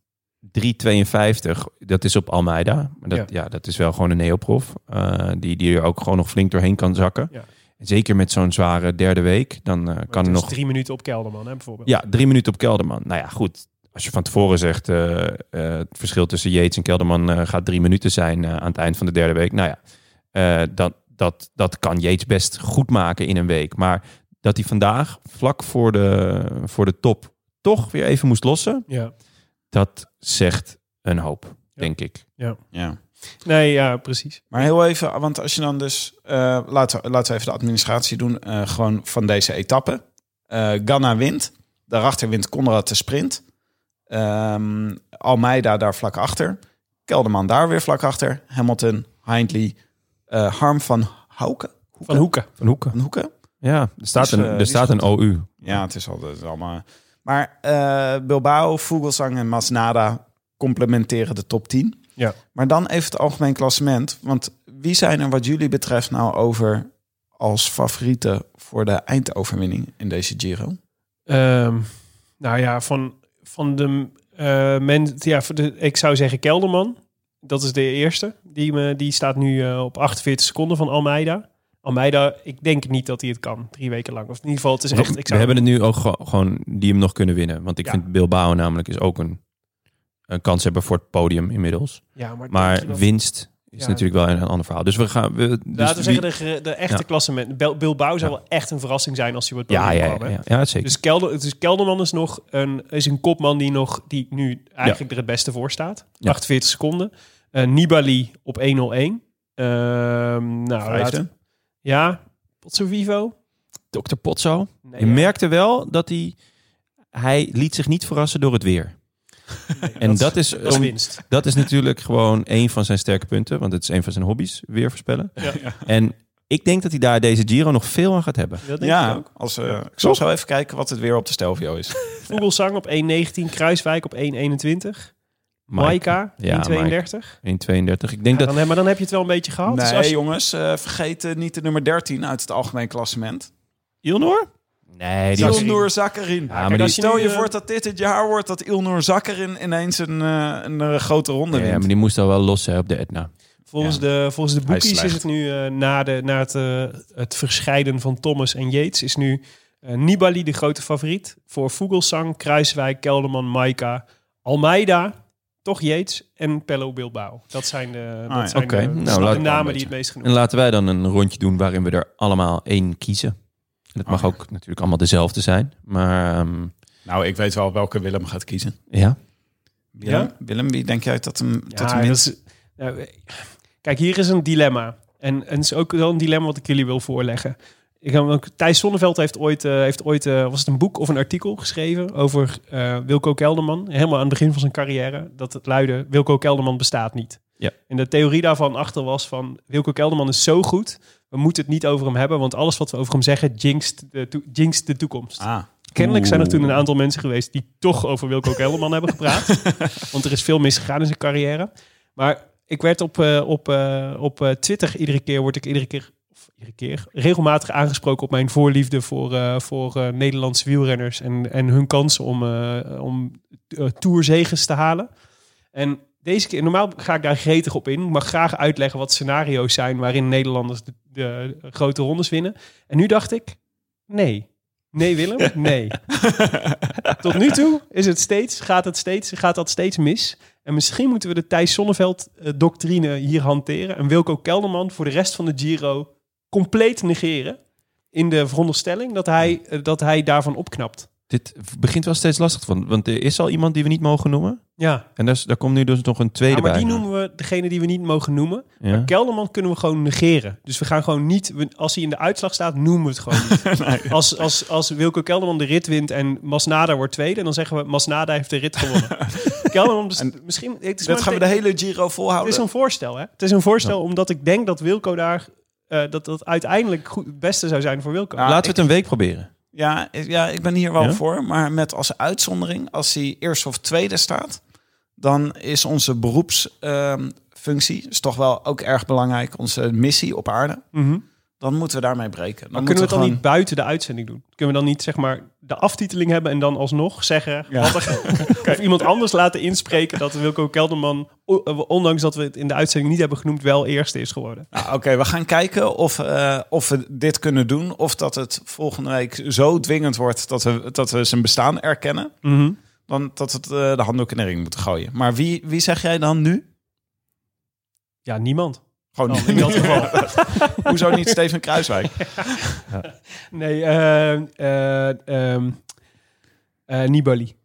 S1: 3,52, dat is op Almeida. Maar dat, ja. dat is wel gewoon een neoprof. eh, die, die er ook gewoon nog flink doorheen kan zakken.
S2: Ja.
S1: En Zeker met zo'n zware derde week. Dan eh, kan
S2: Dat
S1: er
S2: is
S1: nog
S2: drie minuten op Kelderman, hè, bijvoorbeeld.
S1: Ja, drie minuten op Kelderman. Nou ja, goed. Als je van tevoren zegt, eh, eh, het verschil tussen Yates en Kelderman eh, gaat drie minuten zijn eh, aan het eind van de derde week. Nou ja, eh, dat, dat, dat kan Yates best goed maken in een week. Maar dat hij vandaag vlak voor de, voor de top toch weer even moest lossen,
S2: Ja.
S1: dat zegt een hoop, denk ik.
S5: Ja.
S2: Nee, ja, precies.
S5: Maar heel even, want als je dan dus... eh, laten, we, laten we even de administratie doen, eh, gewoon van deze etappe. Eh Ganna wint. Daarachter wint Conrad de sprint. Ehm, Almeida daar vlak achter. Kelderman daar weer vlak achter. Hamilton, Hindley, eh, Harm van Houken.
S2: Van Hoeken.
S1: Van Hoeken.
S5: Van Hoeken.
S1: Ja, er staat,
S5: Dus, eh,
S1: een,
S5: die
S1: er
S5: is
S1: staat een OU.
S5: Ja, het is altijd allemaal. Maar eh, Bilbao, Vogelsang en Masnada complementeren de top 10.
S2: Ja.
S5: Maar dan even het algemeen klassement. Want wie zijn er wat jullie betreft nou over als favorieten voor de eindoverwinning in deze Giro?
S2: Ehm, nou ja, van, van de eh men, ja, van de, ik zou zeggen Kelderman. Dat is de eerste. Die, me, die staat nu eh, op 48 seconden van Almeida. Almeida, ik denk niet dat hij het kan. Drie weken lang. Of in ieder geval, het is echt... Ik
S1: We
S2: zou,
S1: hebben het nu ook ge- gewoon die hem nog kunnen winnen. Want ik
S2: Ja.
S1: vind Bilbao namelijk is ook een, een kans hebben voor het podium inmiddels.
S2: ja, maar
S1: Maar
S2: denk je dat-
S1: winst is
S2: Ja.
S1: natuurlijk wel een, een ander verhaal. Dus we gaan. We, dus
S2: Laten we
S1: wie-
S2: zeggen, de, ge- de echte
S1: Ja.
S2: klassement. Bil- Bilbao zou
S1: Ja.
S2: wel echt een verrassing zijn als hij wordt
S1: ja, ja, ja, ja, ja, zeker.
S2: Dus, Kelder, dus Kelderman is nog een, is een kopman die, nog, die nu eigenlijk er het beste voor staat.
S1: Ja.
S2: 48 seconden. Eh, Nibali op 101. Ehm nou,
S5: Vijfde.
S2: laat- ja, Potso Vivo.
S1: Dr. Potso.
S2: Nee,
S1: je
S2: ja.
S1: merkte wel dat hij. Hij liet zich niet verrassen door het weer. en dat, is,
S2: Dat is
S1: om-
S2: winst.
S1: dat is natuurlijk gewoon een van zijn sterke punten. Want het is een van zijn hobby's, weer voorspellen. En ik denk dat hij daar deze Giro nog veel aan gaat hebben.
S2: Dat denk ik
S5: Ja,
S2: ook.
S5: als, eh, ik zal zo even kijken wat het weer op de Stelvio is.
S2: Vogelsang op 1.19, Kruiswijk op 1.21, Maika 1.32.
S1: Ja, Maaike. 1,32. Ik denk
S2: Ja,
S1: dat...
S2: dan, maar dan heb je het wel een beetje gehad. Dus
S5: nee,
S2: als je-
S5: jongens, eh, vergeet eh, niet de nummer 13 uit het algemeen klassement.
S2: Ilnor?
S1: Nee, die was-
S5: Ilnur Zakkerin.
S1: maar die-
S5: Kijk,
S2: als je
S5: Stel
S2: nu,
S5: je
S2: eh,
S5: voor dat dit het jaar wordt dat Ilnur Zakkerin ineens een, eh, een eh, grote ronde
S1: Ja,
S5: wint.
S1: maar die moest al wel los hè, op de Etna.
S2: Volgens,
S5: Ja.
S2: de, volgens de
S5: Hij is
S2: boekies is
S5: slecht.
S2: het nu eh, na, de, na het, eh, het verscheiden van Thomas en Yates is nu eh, Nibali de grote favoriet voor Vogelsang, Kruiswijk, Kelderman, Maika, Almeida, toch Yates en Pello Bilbao. Dat zijn de,
S5: Ah,
S2: dat
S5: ja.
S2: zijn
S1: Oké,
S2: de,
S1: nou,
S2: de
S1: laat ik wel een
S2: namen die
S1: beetje.
S2: het meest genoemd
S1: En laten wij dan een rondje doen waarin we er allemaal één kiezen. En dat mag
S5: Oh,
S1: ook natuurlijk allemaal dezelfde zijn. Maar ehm,
S5: Nou, ik weet wel welke Willem gaat kiezen.
S1: ja,
S5: Willem,
S2: Ja?
S5: Willem wie denk jij dat hem...
S2: Ja,
S5: dat hem wint?
S2: dat is- nou, eh, kijk, hier is een dilemma. En, en het is ook wel een dilemma wat ik jullie wil voorleggen. Ik heb ook, Thijs Sonneveld heeft ooit, eh, heeft ooit eh, was het een boek of een artikel geschreven over eh, Wilco Kelderman. Helemaal aan het begin van zijn carrière. Dat het luidde, Wilco Kelderman bestaat niet.
S1: Ja.
S2: En de theorie daarvan achter was van, Wilco Kelderman is zo goed. We moeten het niet over hem hebben, want alles wat we over hem zeggen jinxt de, to- jinxt de toekomst.
S5: Ah,
S2: Kennelijk zijn er toen een aantal mensen geweest die toch over Wilco Kelderman hebben gepraat. Want er is veel misgegaan in zijn carrière. Maar ik werd op, eh, op, eh, op eh, Twitter iedere keer, word ik iedere keer, of iedere keer, regelmatig aangesproken op mijn voorliefde voor, eh, voor eh, Nederlandse wielrenners en, en hun kansen om, eh, om eh, toerzegens te halen. En deze keer, normaal ga ik daar gretig op in. Ik mag graag uitleggen wat scenario's zijn waarin Nederlanders de, de grote rondes winnen. En nu dacht ik, nee. Nee, Willem? Nee. Tot nu toe is het steeds, gaat, het steeds, gaat dat steeds mis. En misschien moeten we de Thijs Sonneveld-doctrine hier hanteren. En Wilco Kelderman voor de rest van de Giro compleet negeren. In de veronderstelling dat hij, eh, dat hij daarvan opknapt.
S1: dit begint wel steeds lastig. Van, want er is al iemand die we niet mogen noemen.
S2: Ja,
S1: En daar, is- daar komt nu dus nog een tweede
S2: Ja, maar
S1: bij.
S2: die noemen we degene die we niet mogen noemen.
S1: Ja.
S2: Maar Kelderman kunnen we gewoon negeren. Dus we gaan gewoon niet... we- als hij in de uitslag staat, noemen we het gewoon niet. als, als, als Wilco Kelderman de rit wint en Masnada wordt tweede... dan zeggen we Masnada heeft de rit gewonnen. Kelderman, bes- misschien... Het is, maar
S5: dat gaan we
S2: een
S5: de
S2: te-
S5: hele Giro
S2: het is
S5: volhouden.
S2: een voorstel, hè? Het is een voorstel omdat ik denk dat Wilco daar... eh, dat dat uiteindelijk goed, het beste zou zijn voor Wilco.
S5: Ja,
S1: Laten we het een week proberen.
S5: Ja, ik- ja, ik ben hier wel
S1: Ja?
S5: voor. Maar met als uitzondering, als hij eerst of tweede staat... dan is onze beroepsfunctie is toch wel ook erg belangrijk. Onze missie op aarde.
S2: Mhm.
S5: Dan moeten we daarmee breken. Dan
S2: Maar
S5: moeten
S2: kunnen we het dan
S5: gewoon-
S2: niet buiten de uitzending doen? Kunnen we dan niet zeg maar de aftiteling hebben en dan alsnog zeggen wat er- of iemand anders laten inspreken dat Wilco Kelderman, o- eh, ondanks dat we het in de uitzending niet hebben genoemd, wel eerste is geworden?
S5: Nou, Oké, we gaan kijken of, eh, of we dit kunnen doen. Of dat het volgende week zo dwingend wordt dat we, dat we zijn bestaan erkennen.
S2: Mhm.
S5: Dan dat we het, eh, de handdoek in de ring moeten gooien. Maar wie, wie zeg jij dan nu?
S2: Ja, niemand.
S5: Gewoon
S1: Oh,
S2: Dan, in
S5: niet.
S2: dat geval.
S5: Hoezo niet Steven Kruiswijk?
S2: Nee, eh, eh, ehm, eh, Nibali.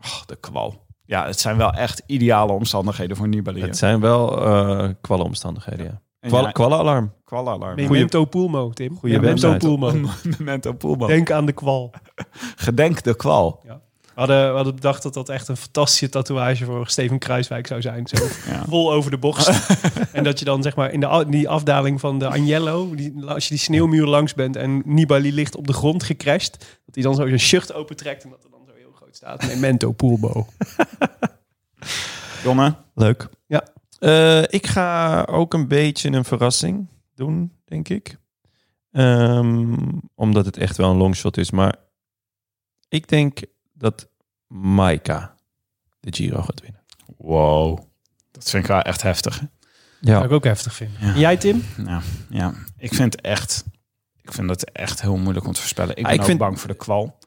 S5: Och, Oh, de kwal. Ja, het zijn wel echt ideale omstandigheden voor Nibali. hè?
S1: Het zijn wel eh kwalle omstandigheden, ja.
S5: En
S1: Kwal-
S5: ja,
S1: Kwallenalarm.
S5: kwalalarm.
S2: Memento Pulmo, Tim.
S1: Goeie
S2: Memento
S1: website.
S2: Pulmo.
S5: Memento Poelman.
S2: Denk aan de kwal.
S5: Gedenk de kwal.
S2: We hadden, we hadden bedacht dat dat echt een fantastische tatoeage voor Steven Kruiswijk zou zijn. Zo
S5: Ja.
S2: vol over de bocht. en dat je dan zeg maar in de, a- die afdaling van de Agnello, die, als je die sneeuwmuur langs bent en Nibali ligt op de grond gecrashed, dat hij dan zo zijn shirt opentrekt en dat er dan zo heel groot staat. Memento Pulbo.
S5: Jonne,
S1: Leuk.
S2: Ja.
S1: Eh, ik ga ook een beetje een verrassing doen, denk ik. Ehm, omdat het echt wel een longshot is. Maar ik denk dat Maika de Giro gaat winnen.
S5: Wow. Dat vind ik wel echt heftig. hè?
S2: Zou ik ook heftig vinden.
S5: Ja.
S2: Jij Tim?
S5: Nou, ja. Ik vind echt... Ik vind het echt heel moeilijk om te voorspellen.
S1: Ah,
S5: Ik ben
S1: ik
S5: ook
S1: vind-
S5: bang voor de kwal.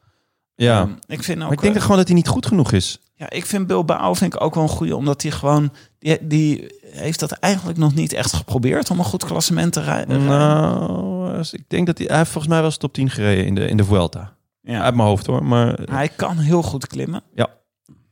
S1: Ja.
S5: Ehm, ik vind ook...
S1: maar ik denk dat gewoon dat hij niet goed genoeg is.
S5: Ja, ik vind Bilbao vind ik ook wel een goede, omdat hij gewoon... Die, die heeft dat eigenlijk nog niet echt geprobeerd om een goed klassement te rij- rijden.
S1: Nou, als- ik denk dat hij... Hij heeft volgens mij wel eens top 10 gereden in de, in de Vuelta.
S5: ja.
S1: Uit mijn hoofd hoor. Maar eh,
S5: Hij kan heel goed klimmen.
S1: Ja.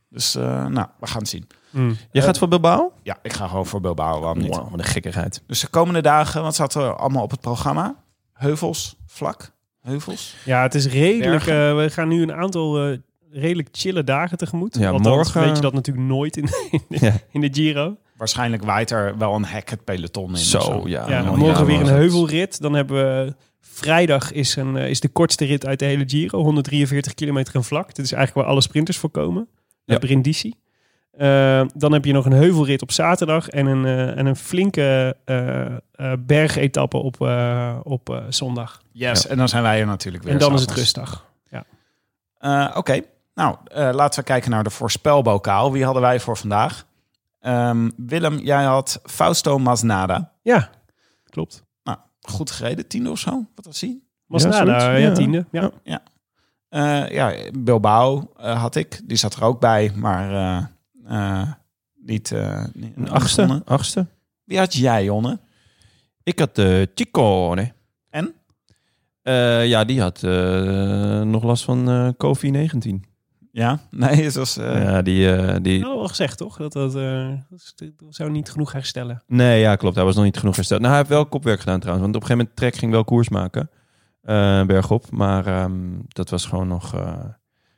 S5: Dus eh, nou, we gaan het zien.
S2: Hmm.
S1: jij gaat voor Bilbao?
S5: Ja, ik ga gewoon voor Bilbao, waarom niet?
S1: eh, Wow, wat een gekkigheid.
S5: Dus de komende dagen, wat staat er allemaal op het programma? Heuvels, vlak, heuvels.
S2: eh, Ja, het is redelijk. we gaan nu een aantal eh, redelijk chille dagen tegemoet.
S1: Ja,
S2: Althans,
S1: morgen-
S2: weet je dat natuurlijk nooit in, in, de-
S1: Ja.
S2: in de Giro.
S5: Waarschijnlijk waait er wel een hek het peloton in. of
S1: Zo, ja.
S2: Ja,
S1: man,
S2: morgen
S1: ja,
S5: eh,
S2: weer
S1: man.
S2: een heuvelrit. Dan hebben we... Vrijdag is, een, eh, is de kortste rit uit de hele Giro. 143 kilometer en vlak. Dit is eigenlijk waar alle sprinters voor komen. Naar
S1: Ja.
S2: Brindisi. Eh, dan heb je nog een heuvelrit op zaterdag. En een, eh, en een flinke eh eh, bergetappe op, eh, op eh, zondag.
S5: Yes, en dan zijn wij er natuurlijk weer.
S2: en dan is het
S5: s'avonds.
S2: rustdag.
S5: Eh, Oké, nou eh, laten we kijken naar de voorspelbokaal. Wie hadden wij voor vandaag? Ehm, Willem, jij had Fausto Masnada.
S2: Ja, klopt.
S5: Nou, goed gereden, tiende of zo. Wat was hij?
S2: Masnada, ja,
S1: zoiets. Ja.
S2: tiende. Ja.
S5: Eh, ja, Bilbao eh, had ik. Die zat er ook bij, maar eh, eh, niet... eh, niet-
S1: Een achtste.
S5: Jonne.
S1: achtste.
S5: Wie had jij, Jonne?
S1: Ik had de Chicone.
S5: En?
S1: Eh, ja, die had eh, nog last van eh COVID-19.
S5: Ja, nee, het was... eh,
S1: ja, die, eh, die,
S2: Dat hadden we al gezegd, toch? Dat, dat, eh, dat is- dat zou niet genoeg herstellen.
S1: Nee, ja, klopt. Hij was nog niet genoeg hersteld. Nou, hij heeft wel kopwerk gedaan trouwens. Want op een gegeven moment Trek ging wel koers maken. eh, bergop. Maar ehm, dat was gewoon nog... eh,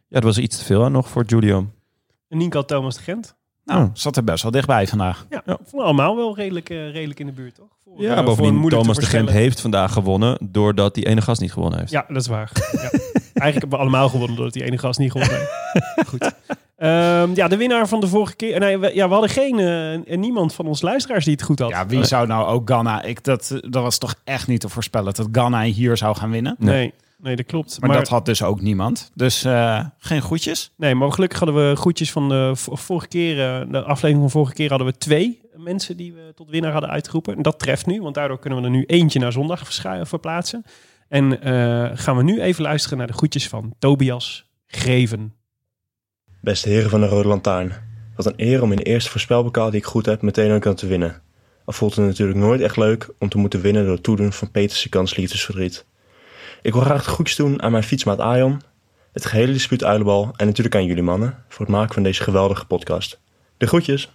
S1: ja, dat was iets te veel aan nog voor Giulio.
S2: En Nienke had Thomas de Gent.
S5: Nou, zat er best wel dichtbij vandaag.
S2: Ja, vonden we allemaal wel redelijk, eh, redelijk in de buurt, toch? Voor, eh,
S1: Ja,
S2: voor een
S1: bovendien
S2: moeilijk te
S1: Thomas de Gent
S2: voorspellen-
S1: heeft vandaag gewonnen... doordat die ene gast niet gewonnen heeft.
S2: Ja, dat is waar. Ja. Eigenlijk hebben we allemaal gewonnen doordat die ene gast niet gewonnen heeft. Goed. Ehm, ja, de winnaar van de vorige keer. Nee, we, ja, we hadden geen, eh, niemand van ons luisteraars die het goed had.
S5: Ja,
S1: eh,
S5: wie zou nou ook Ghana... Ik, dat, dat was toch echt niet te voorspellen dat Ghana hier zou gaan winnen.
S2: Nee. Nee, dat klopt.
S5: Maar, dat had dus ook niemand. Dus eh, geen groetjes.
S2: Nee, maar gelukkig hadden we goedjes van de v- vorige keer, eh, de aflevering van vorige keer hadden we twee mensen die we tot winnaar hadden uitgeroepen. En dat treft nu, want daardoor kunnen we er nu eentje naar zondag verschu- verplaatsen. En eh, gaan we nu even luisteren naar de goedjes van Tobias Greven.
S6: Beste heren van de Rode Lantaarn. Wat een eer om in de eerste voorspelbokaal die ik goed heb meteen ook aan te winnen. Al voelt het natuurlijk nooit echt leuk om te moeten winnen door het toedoen van Peterse kans liefdesverdriet. Ik wil graag het goeds doen aan mijn fietsmaat Aion, het gehele dispuut Uilenbal en natuurlijk aan jullie mannen voor het maken van deze geweldige podcast. De groetjes!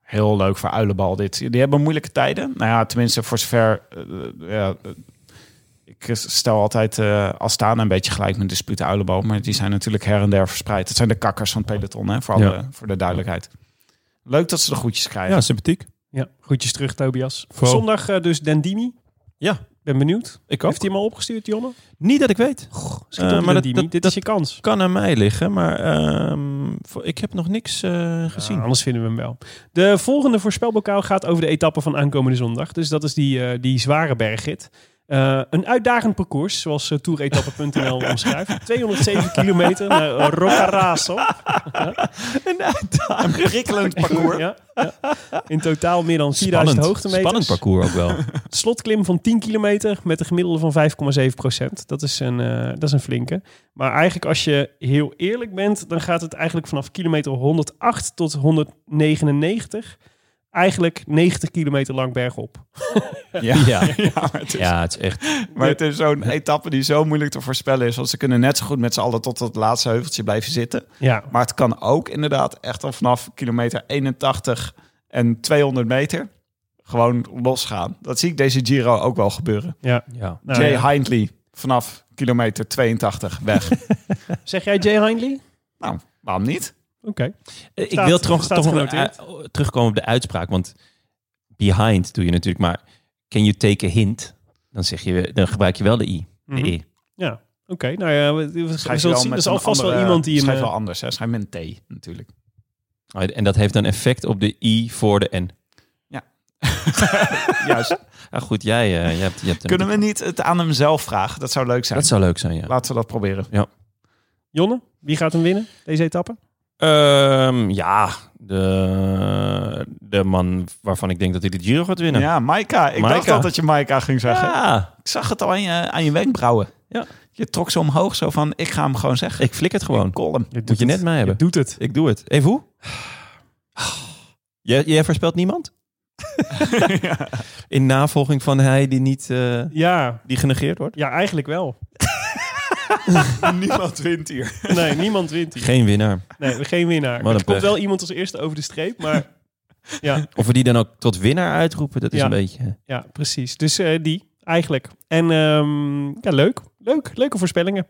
S5: Heel leuk voor Uilenbal dit. Die hebben moeilijke tijden. Nou ja, tenminste voor zover... eh, ja, eh, ik stel altijd eh Astana een beetje gelijk met dispute Uilenbal. Maar die zijn natuurlijk her en der verspreid. Dat zijn de kakkers van het peloton, hè, voor, alle,
S1: Ja.
S5: voor de duidelijkheid. Leuk dat ze de groetjes krijgen.
S1: Ja, sympathiek.
S2: Ja, goedjes terug Tobias.
S1: Vooral-
S2: Zondag eh, dus Dendimi.
S1: Ja.
S2: Ben benieuwd.
S1: Ik ook.
S2: Heeft hij hem al opgestuurd, Jonne?
S1: Niet dat ik weet.
S2: Schiet
S1: Eh,
S2: op,
S1: maar dat-
S2: Dendimi.
S1: dat-
S2: Dit
S1: dat-
S2: is je kans.
S1: Kan aan mij liggen, maar ehm, voor- ik heb nog niks eh, gezien.
S2: Ja, anders Ah, vinden we hem wel. De volgende voorspelbokaal gaat over de etappe van aankomende zondag. Dus dat is die, eh, die zware bergrit. Eh, een uitdagend parcours, zoals eh, toeretappe.nl omschrijft. 207 kilometer naar Roccaraso.
S5: Een prikkelend parcours.
S2: Ja, ja. In totaal meer dan 4000 hoogtemeters.
S1: Spannend parcours ook wel.
S2: Slotklim van 10 kilometer met een gemiddelde van 5,7 procent. Dat, is een, eh, dat is een flinke. Maar eigenlijk als je heel eerlijk bent, dan gaat het eigenlijk vanaf kilometer 108 tot 199 eigenlijk 90 kilometer lang bergop.
S5: Ja.
S1: ja.
S5: Ja, maar het is-
S1: ja, het is echt...
S5: Maar het is zo'n etappe die zo moeilijk te voorspellen is. Want ze kunnen net zo goed met z'n allen tot dat laatste heuveltje blijven zitten.
S2: Ja,
S5: Maar het kan ook inderdaad echt al vanaf kilometer 81 en 200 meter gewoon losgaan. Dat zie ik deze Giro ook wel gebeuren.
S2: ja.
S1: Ja.
S2: Nou,
S5: Jay
S2: ja.
S5: Hindley vanaf kilometer 82 weg.
S2: Zeg jij Jay Hindley?
S5: nou, waarom niet?
S2: Oké.
S1: Eh, Ik
S2: Staat-
S1: wil toch,
S2: staat
S1: toch nog
S2: genoteerd.
S1: eh, terugkomen op de uitspraak. Want behind doe je natuurlijk maar... Can you take a hint? Dan, zeg je, dan gebruik je wel de i. De
S2: Mhm.
S1: e.
S2: Ja, oké. Nou ja, we, we- we
S5: Schrijf je
S2: zullen
S5: wel
S2: zien.
S5: met
S2: Er is
S5: een
S2: alvast wel
S5: andere-
S2: iemand die hem...
S5: Schrijf
S2: eh,
S5: wel anders, hè? Schrijf met een T natuurlijk.
S1: Oh, En dat heeft dan effect op de i voor de n.
S5: Juist.
S1: Ah, goed, jij, eh, je hebt, je hebt hem.
S5: Kunnen we niet het aan hem zelf vragen? Dat zou leuk zijn.
S1: Dat zou leuk zijn, ja.
S5: Laten we dat proberen.
S2: Jonne, wie gaat hem winnen, deze etappe?
S1: Ehm, ja, de, de man waarvan ik denk dat hij de Giro gaat winnen.
S5: Ja, Maika. Ik dacht
S1: Nou. Maika.
S5: al dat je Maika ging zeggen.
S1: Ja,
S5: Ik zag het al aan je, aan je wenkbrauwen.
S1: Ja.
S5: Je trok ze omhoog zo van, ik ga hem gewoon zeggen.
S1: ik flik het gewoon.
S5: Call hem.
S1: Moet je net mij hebben.
S2: Doet het.
S1: Ik doe het. Even hoe? Jij, jij voorspelt niemand? In navolging van hij die niet eh,
S2: Ja,
S1: die genegeerd wordt?
S2: ja, eigenlijk wel.
S5: Niemand wint hier.
S2: Nee, niemand wint hier.
S1: Geen winnaar.
S2: Nee, geen winnaar.
S1: Wat
S2: Er
S1: een
S2: komt
S1: pech.
S2: wel iemand als eerste over de streep, maar ja,
S1: Of we die dan ook tot winnaar uitroepen, dat is
S2: Ja.
S1: een beetje... eh,
S2: ja precies. Dus eh, die, eigenlijk. En ehm, ja, leuk. Leuk. Leuke voorspellingen.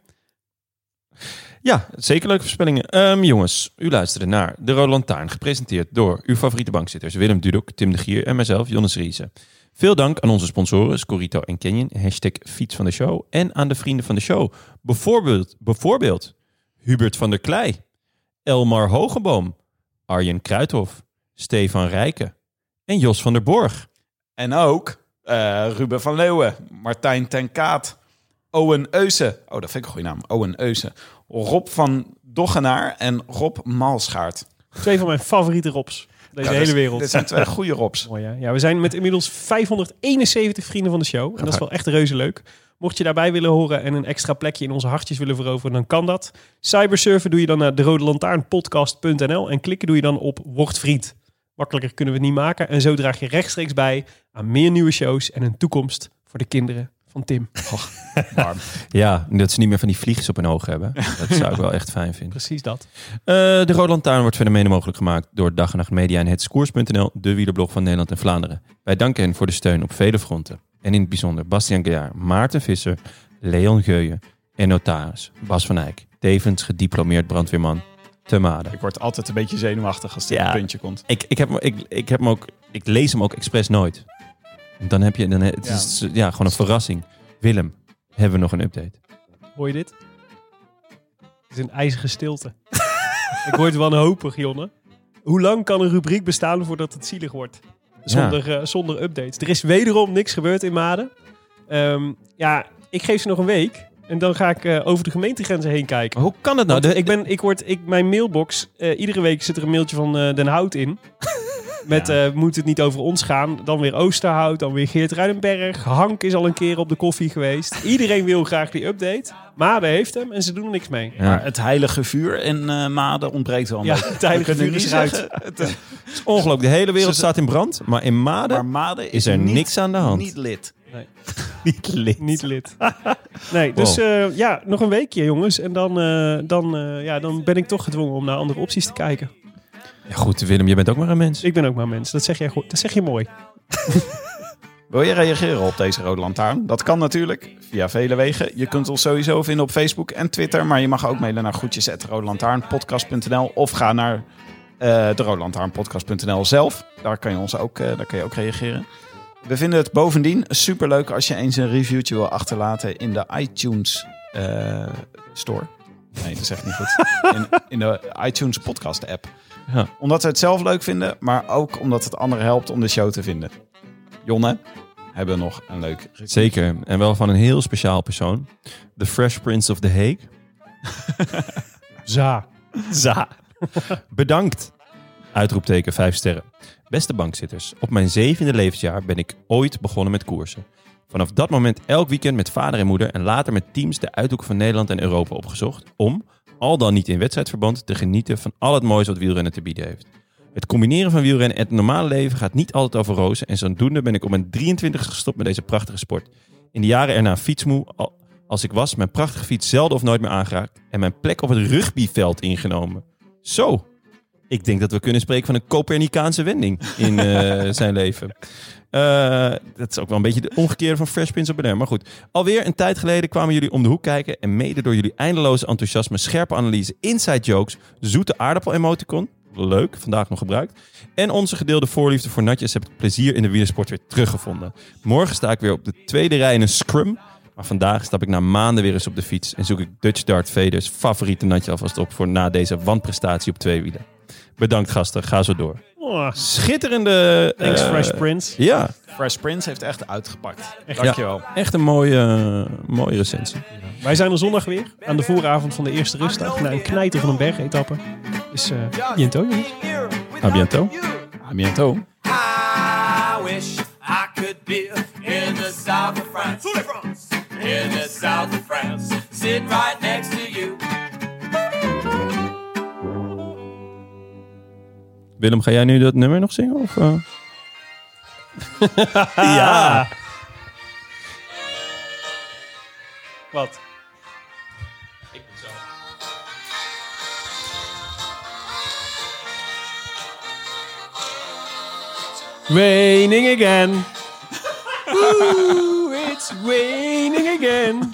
S1: Ja, zeker leuke voorspellingen. Ehm, jongens, u luisterde naar De Rode Lantaarn, gepresenteerd door uw favoriete bankzitters Willem Dudok, Tim de Gier en mijzelf, Jonas Riese. Veel dank aan onze sponsoren Scorito en Canyon, hashtag fiets van de show en aan de vrienden van de show. Bijvoorbeeld, bijvoorbeeld Hubert van der Klei, Elmar Hogeboom, Arjen Kruithof, Stefan Rijken en Jos van der Borg.
S5: En ook eh, Ruben van Leeuwen, Martijn ten Kaat, Owen Eusen. Oh, dat vind ik een goede naam. Owen Eusen. Rob van Doggenaar en Rob Malschaart.
S2: Twee van mijn favoriete Robs. Deze hele wereld.
S5: Dit zijn twee goede Robs.
S2: Mooi, hè? Ja, we zijn met inmiddels 571 vrienden van de show. En dat is wel echt reuze leuk. Mocht je daarbij willen horen en een extra plekje in onze hartjes willen veroveren, dan kan dat. Cybersurfen doe je dan naar de Rode en klikken doe je dan op Word Vriend. Makkelijker kunnen we het niet maken. En zo draag je rechtstreeks bij aan meer nieuwe shows en een toekomst voor de kinderen van Tim.
S1: Ja, dat ze niet meer van die vliegjes op hun ogen hebben. Dat zou ik wel echt fijn vinden.
S2: Precies dat.
S1: Eh, de Rode Lantaarn wordt verder mede mogelijk gemaakt door Dag en Nacht Media en Hetskoers.nl, de wielerblog van Nederland en Vlaanderen. Wij danken hen voor de steun op vele fronten. En in het bijzonder Bastian Gejaar, Maarten Visser, Leon Geuyen en notaris Bas van Eyck, tevens gediplomeerd brandweerman te Maden.
S5: Ik word altijd een beetje zenuwachtig als dit
S1: Ja.
S5: een puntje komt.
S1: Ik, ik, heb, hem- ik, ik, heb hem ook, ik lees hem ook expres nooit. En Dan heb je, dan, het
S5: Ja.
S1: is ja, gewoon een verrassing. Willem, hebben we nog een update?
S2: Hoor je dit? Het is een ijzige stilte. Ik word wanhopig, Jonne. Hoe lang kan een rubriek bestaan voordat het zielig wordt? Zonder, eh, zonder updates. Er is wederom niks gebeurd in Maden. Ehm, ja, ik geef ze nog een week. En dan ga ik eh, over de gemeentegrenzen heen kijken.
S1: Maar Hoe kan het nou?
S2: Want
S1: De-
S2: ik ben, ik word, ik, mijn mailbox, eh, iedere week zit er een mailtje van eh, Den Hout in. Met eh, moet het niet over ons gaan, dan weer Oosterhout, dan weer Geert Ruidenberg. Hank is al een keer op de koffie geweest. Iedereen wil graag die update. Mabe heeft hem en ze doen er niks mee.
S1: Ja.
S5: Het heilige vuur in eh, Maden ontbreekt wel.
S2: Ja,
S5: Ja.
S2: het heilige vuur is eruit.
S1: Ongelooflijk, de hele wereld staat in brand. Maar in Maden
S5: Maar Maden is,
S1: is er
S5: niet,
S1: niks aan de hand.
S5: niet lid.
S1: niet lid.
S2: Niet lid. Nee, dus
S1: Wow.
S2: eh, ja, nog een weekje jongens. En dan, eh, dan, eh, ja, dan ben ik toch gedwongen om naar andere opties te kijken.
S1: Ja, goed, Willem, je bent ook maar een mens.
S2: Ik ben ook maar mens, dat zeg, jij goed. Dat zeg je mooi.
S5: Wil je reageren op deze Rode Lantaarn? Dat kan natuurlijk via vele wegen. Je kunt ons sowieso vinden op Facebook en Twitter. Maar je mag ook mailen naar groetjes.roodlantaarnpodcast.nl of ga naar eh de roodlantaarnpodcast.nl zelf. Daar kan je ons ook, eh, daar kan je ook reageren. We vinden het bovendien superleuk als je eens een reviewtje wil achterlaten in de iTunes eh, Store. Nee, dat zeg ik niet goed. In, in de iTunes podcast app.
S1: Ja.
S5: Omdat we het zelf leuk vinden, maar ook omdat het anderen helpt om de show te vinden. Jonne, hebben we nog een leuk
S1: Zeker, en wel van een heel speciaal persoon. The Fresh Prince of The Hague.
S2: Za.
S1: Za. Bedankt. Uitroepteken 5 sterren. Beste bankzitters, op mijn zevende levensjaar ben ik ooit begonnen met koersen. Vanaf dat moment elk weekend met vader en moeder en later met teams de uithoeken van Nederland en Europa opgezocht om, al dan niet in wedstrijdverband, te genieten van al het moois wat wielrennen te bieden heeft. Het combineren van wielrennen en het normale leven gaat niet altijd over rozen en zodoende ben ik op mijn 23 gestopt met deze prachtige sport. In de jaren erna fietsmoe, al- als ik was, mijn prachtige fiets zelden of nooit meer aangeraakt en mijn plek op het rugbyveld ingenomen. Zo, ik denk dat we kunnen spreken van een Copernicaanse wending in eh, zijn leven. Eh, dat is ook wel een beetje de omgekeerde van Fresh Prince of Bel-Air. Maar goed, alweer een tijd geleden kwamen jullie om de hoek kijken... en mede door jullie eindeloze enthousiasme, scherpe analyse, inside jokes... zoete aardappel-emoticon, leuk, vandaag nog gebruikt... en onze gedeelde voorliefde voor natjes heb ik het plezier in de wielersport weer teruggevonden. Morgen sta ik weer op de tweede rij in een scrum... maar vandaag stap ik na maanden weer eens op de fiets... en zoek ik Dutch Dart Vaders favoriete natje alvast op... voor na deze wanprestatie op twee wielen. Bedankt gasten, ga zo door.
S2: Oh,
S1: Schitterende...
S2: thanks
S1: eh,
S2: Fresh Prince.
S1: Ja,
S5: Fresh Prince heeft echt uitgepakt. Dankjewel.
S1: echt een mooie, mooie recensie.
S2: Wij zijn er zondag weer, aan de vooravond van de eerste rustdag, na een knijter van een bergetappe. Dus eh Jento, jongens.
S1: A bientôt.
S5: A bientôt.
S4: I wish I could be in the south of France. France. In the south of France, sitting right next to you.
S1: Willem, ga jij nu dat nummer nog zingen? Of, eh?
S2: Ja. Wat? Raining again. Ooh, it's raining again.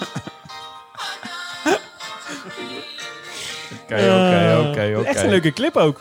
S7: oké, oké,
S2: Eh, Echt
S7: oké.
S2: een leuke clip ook.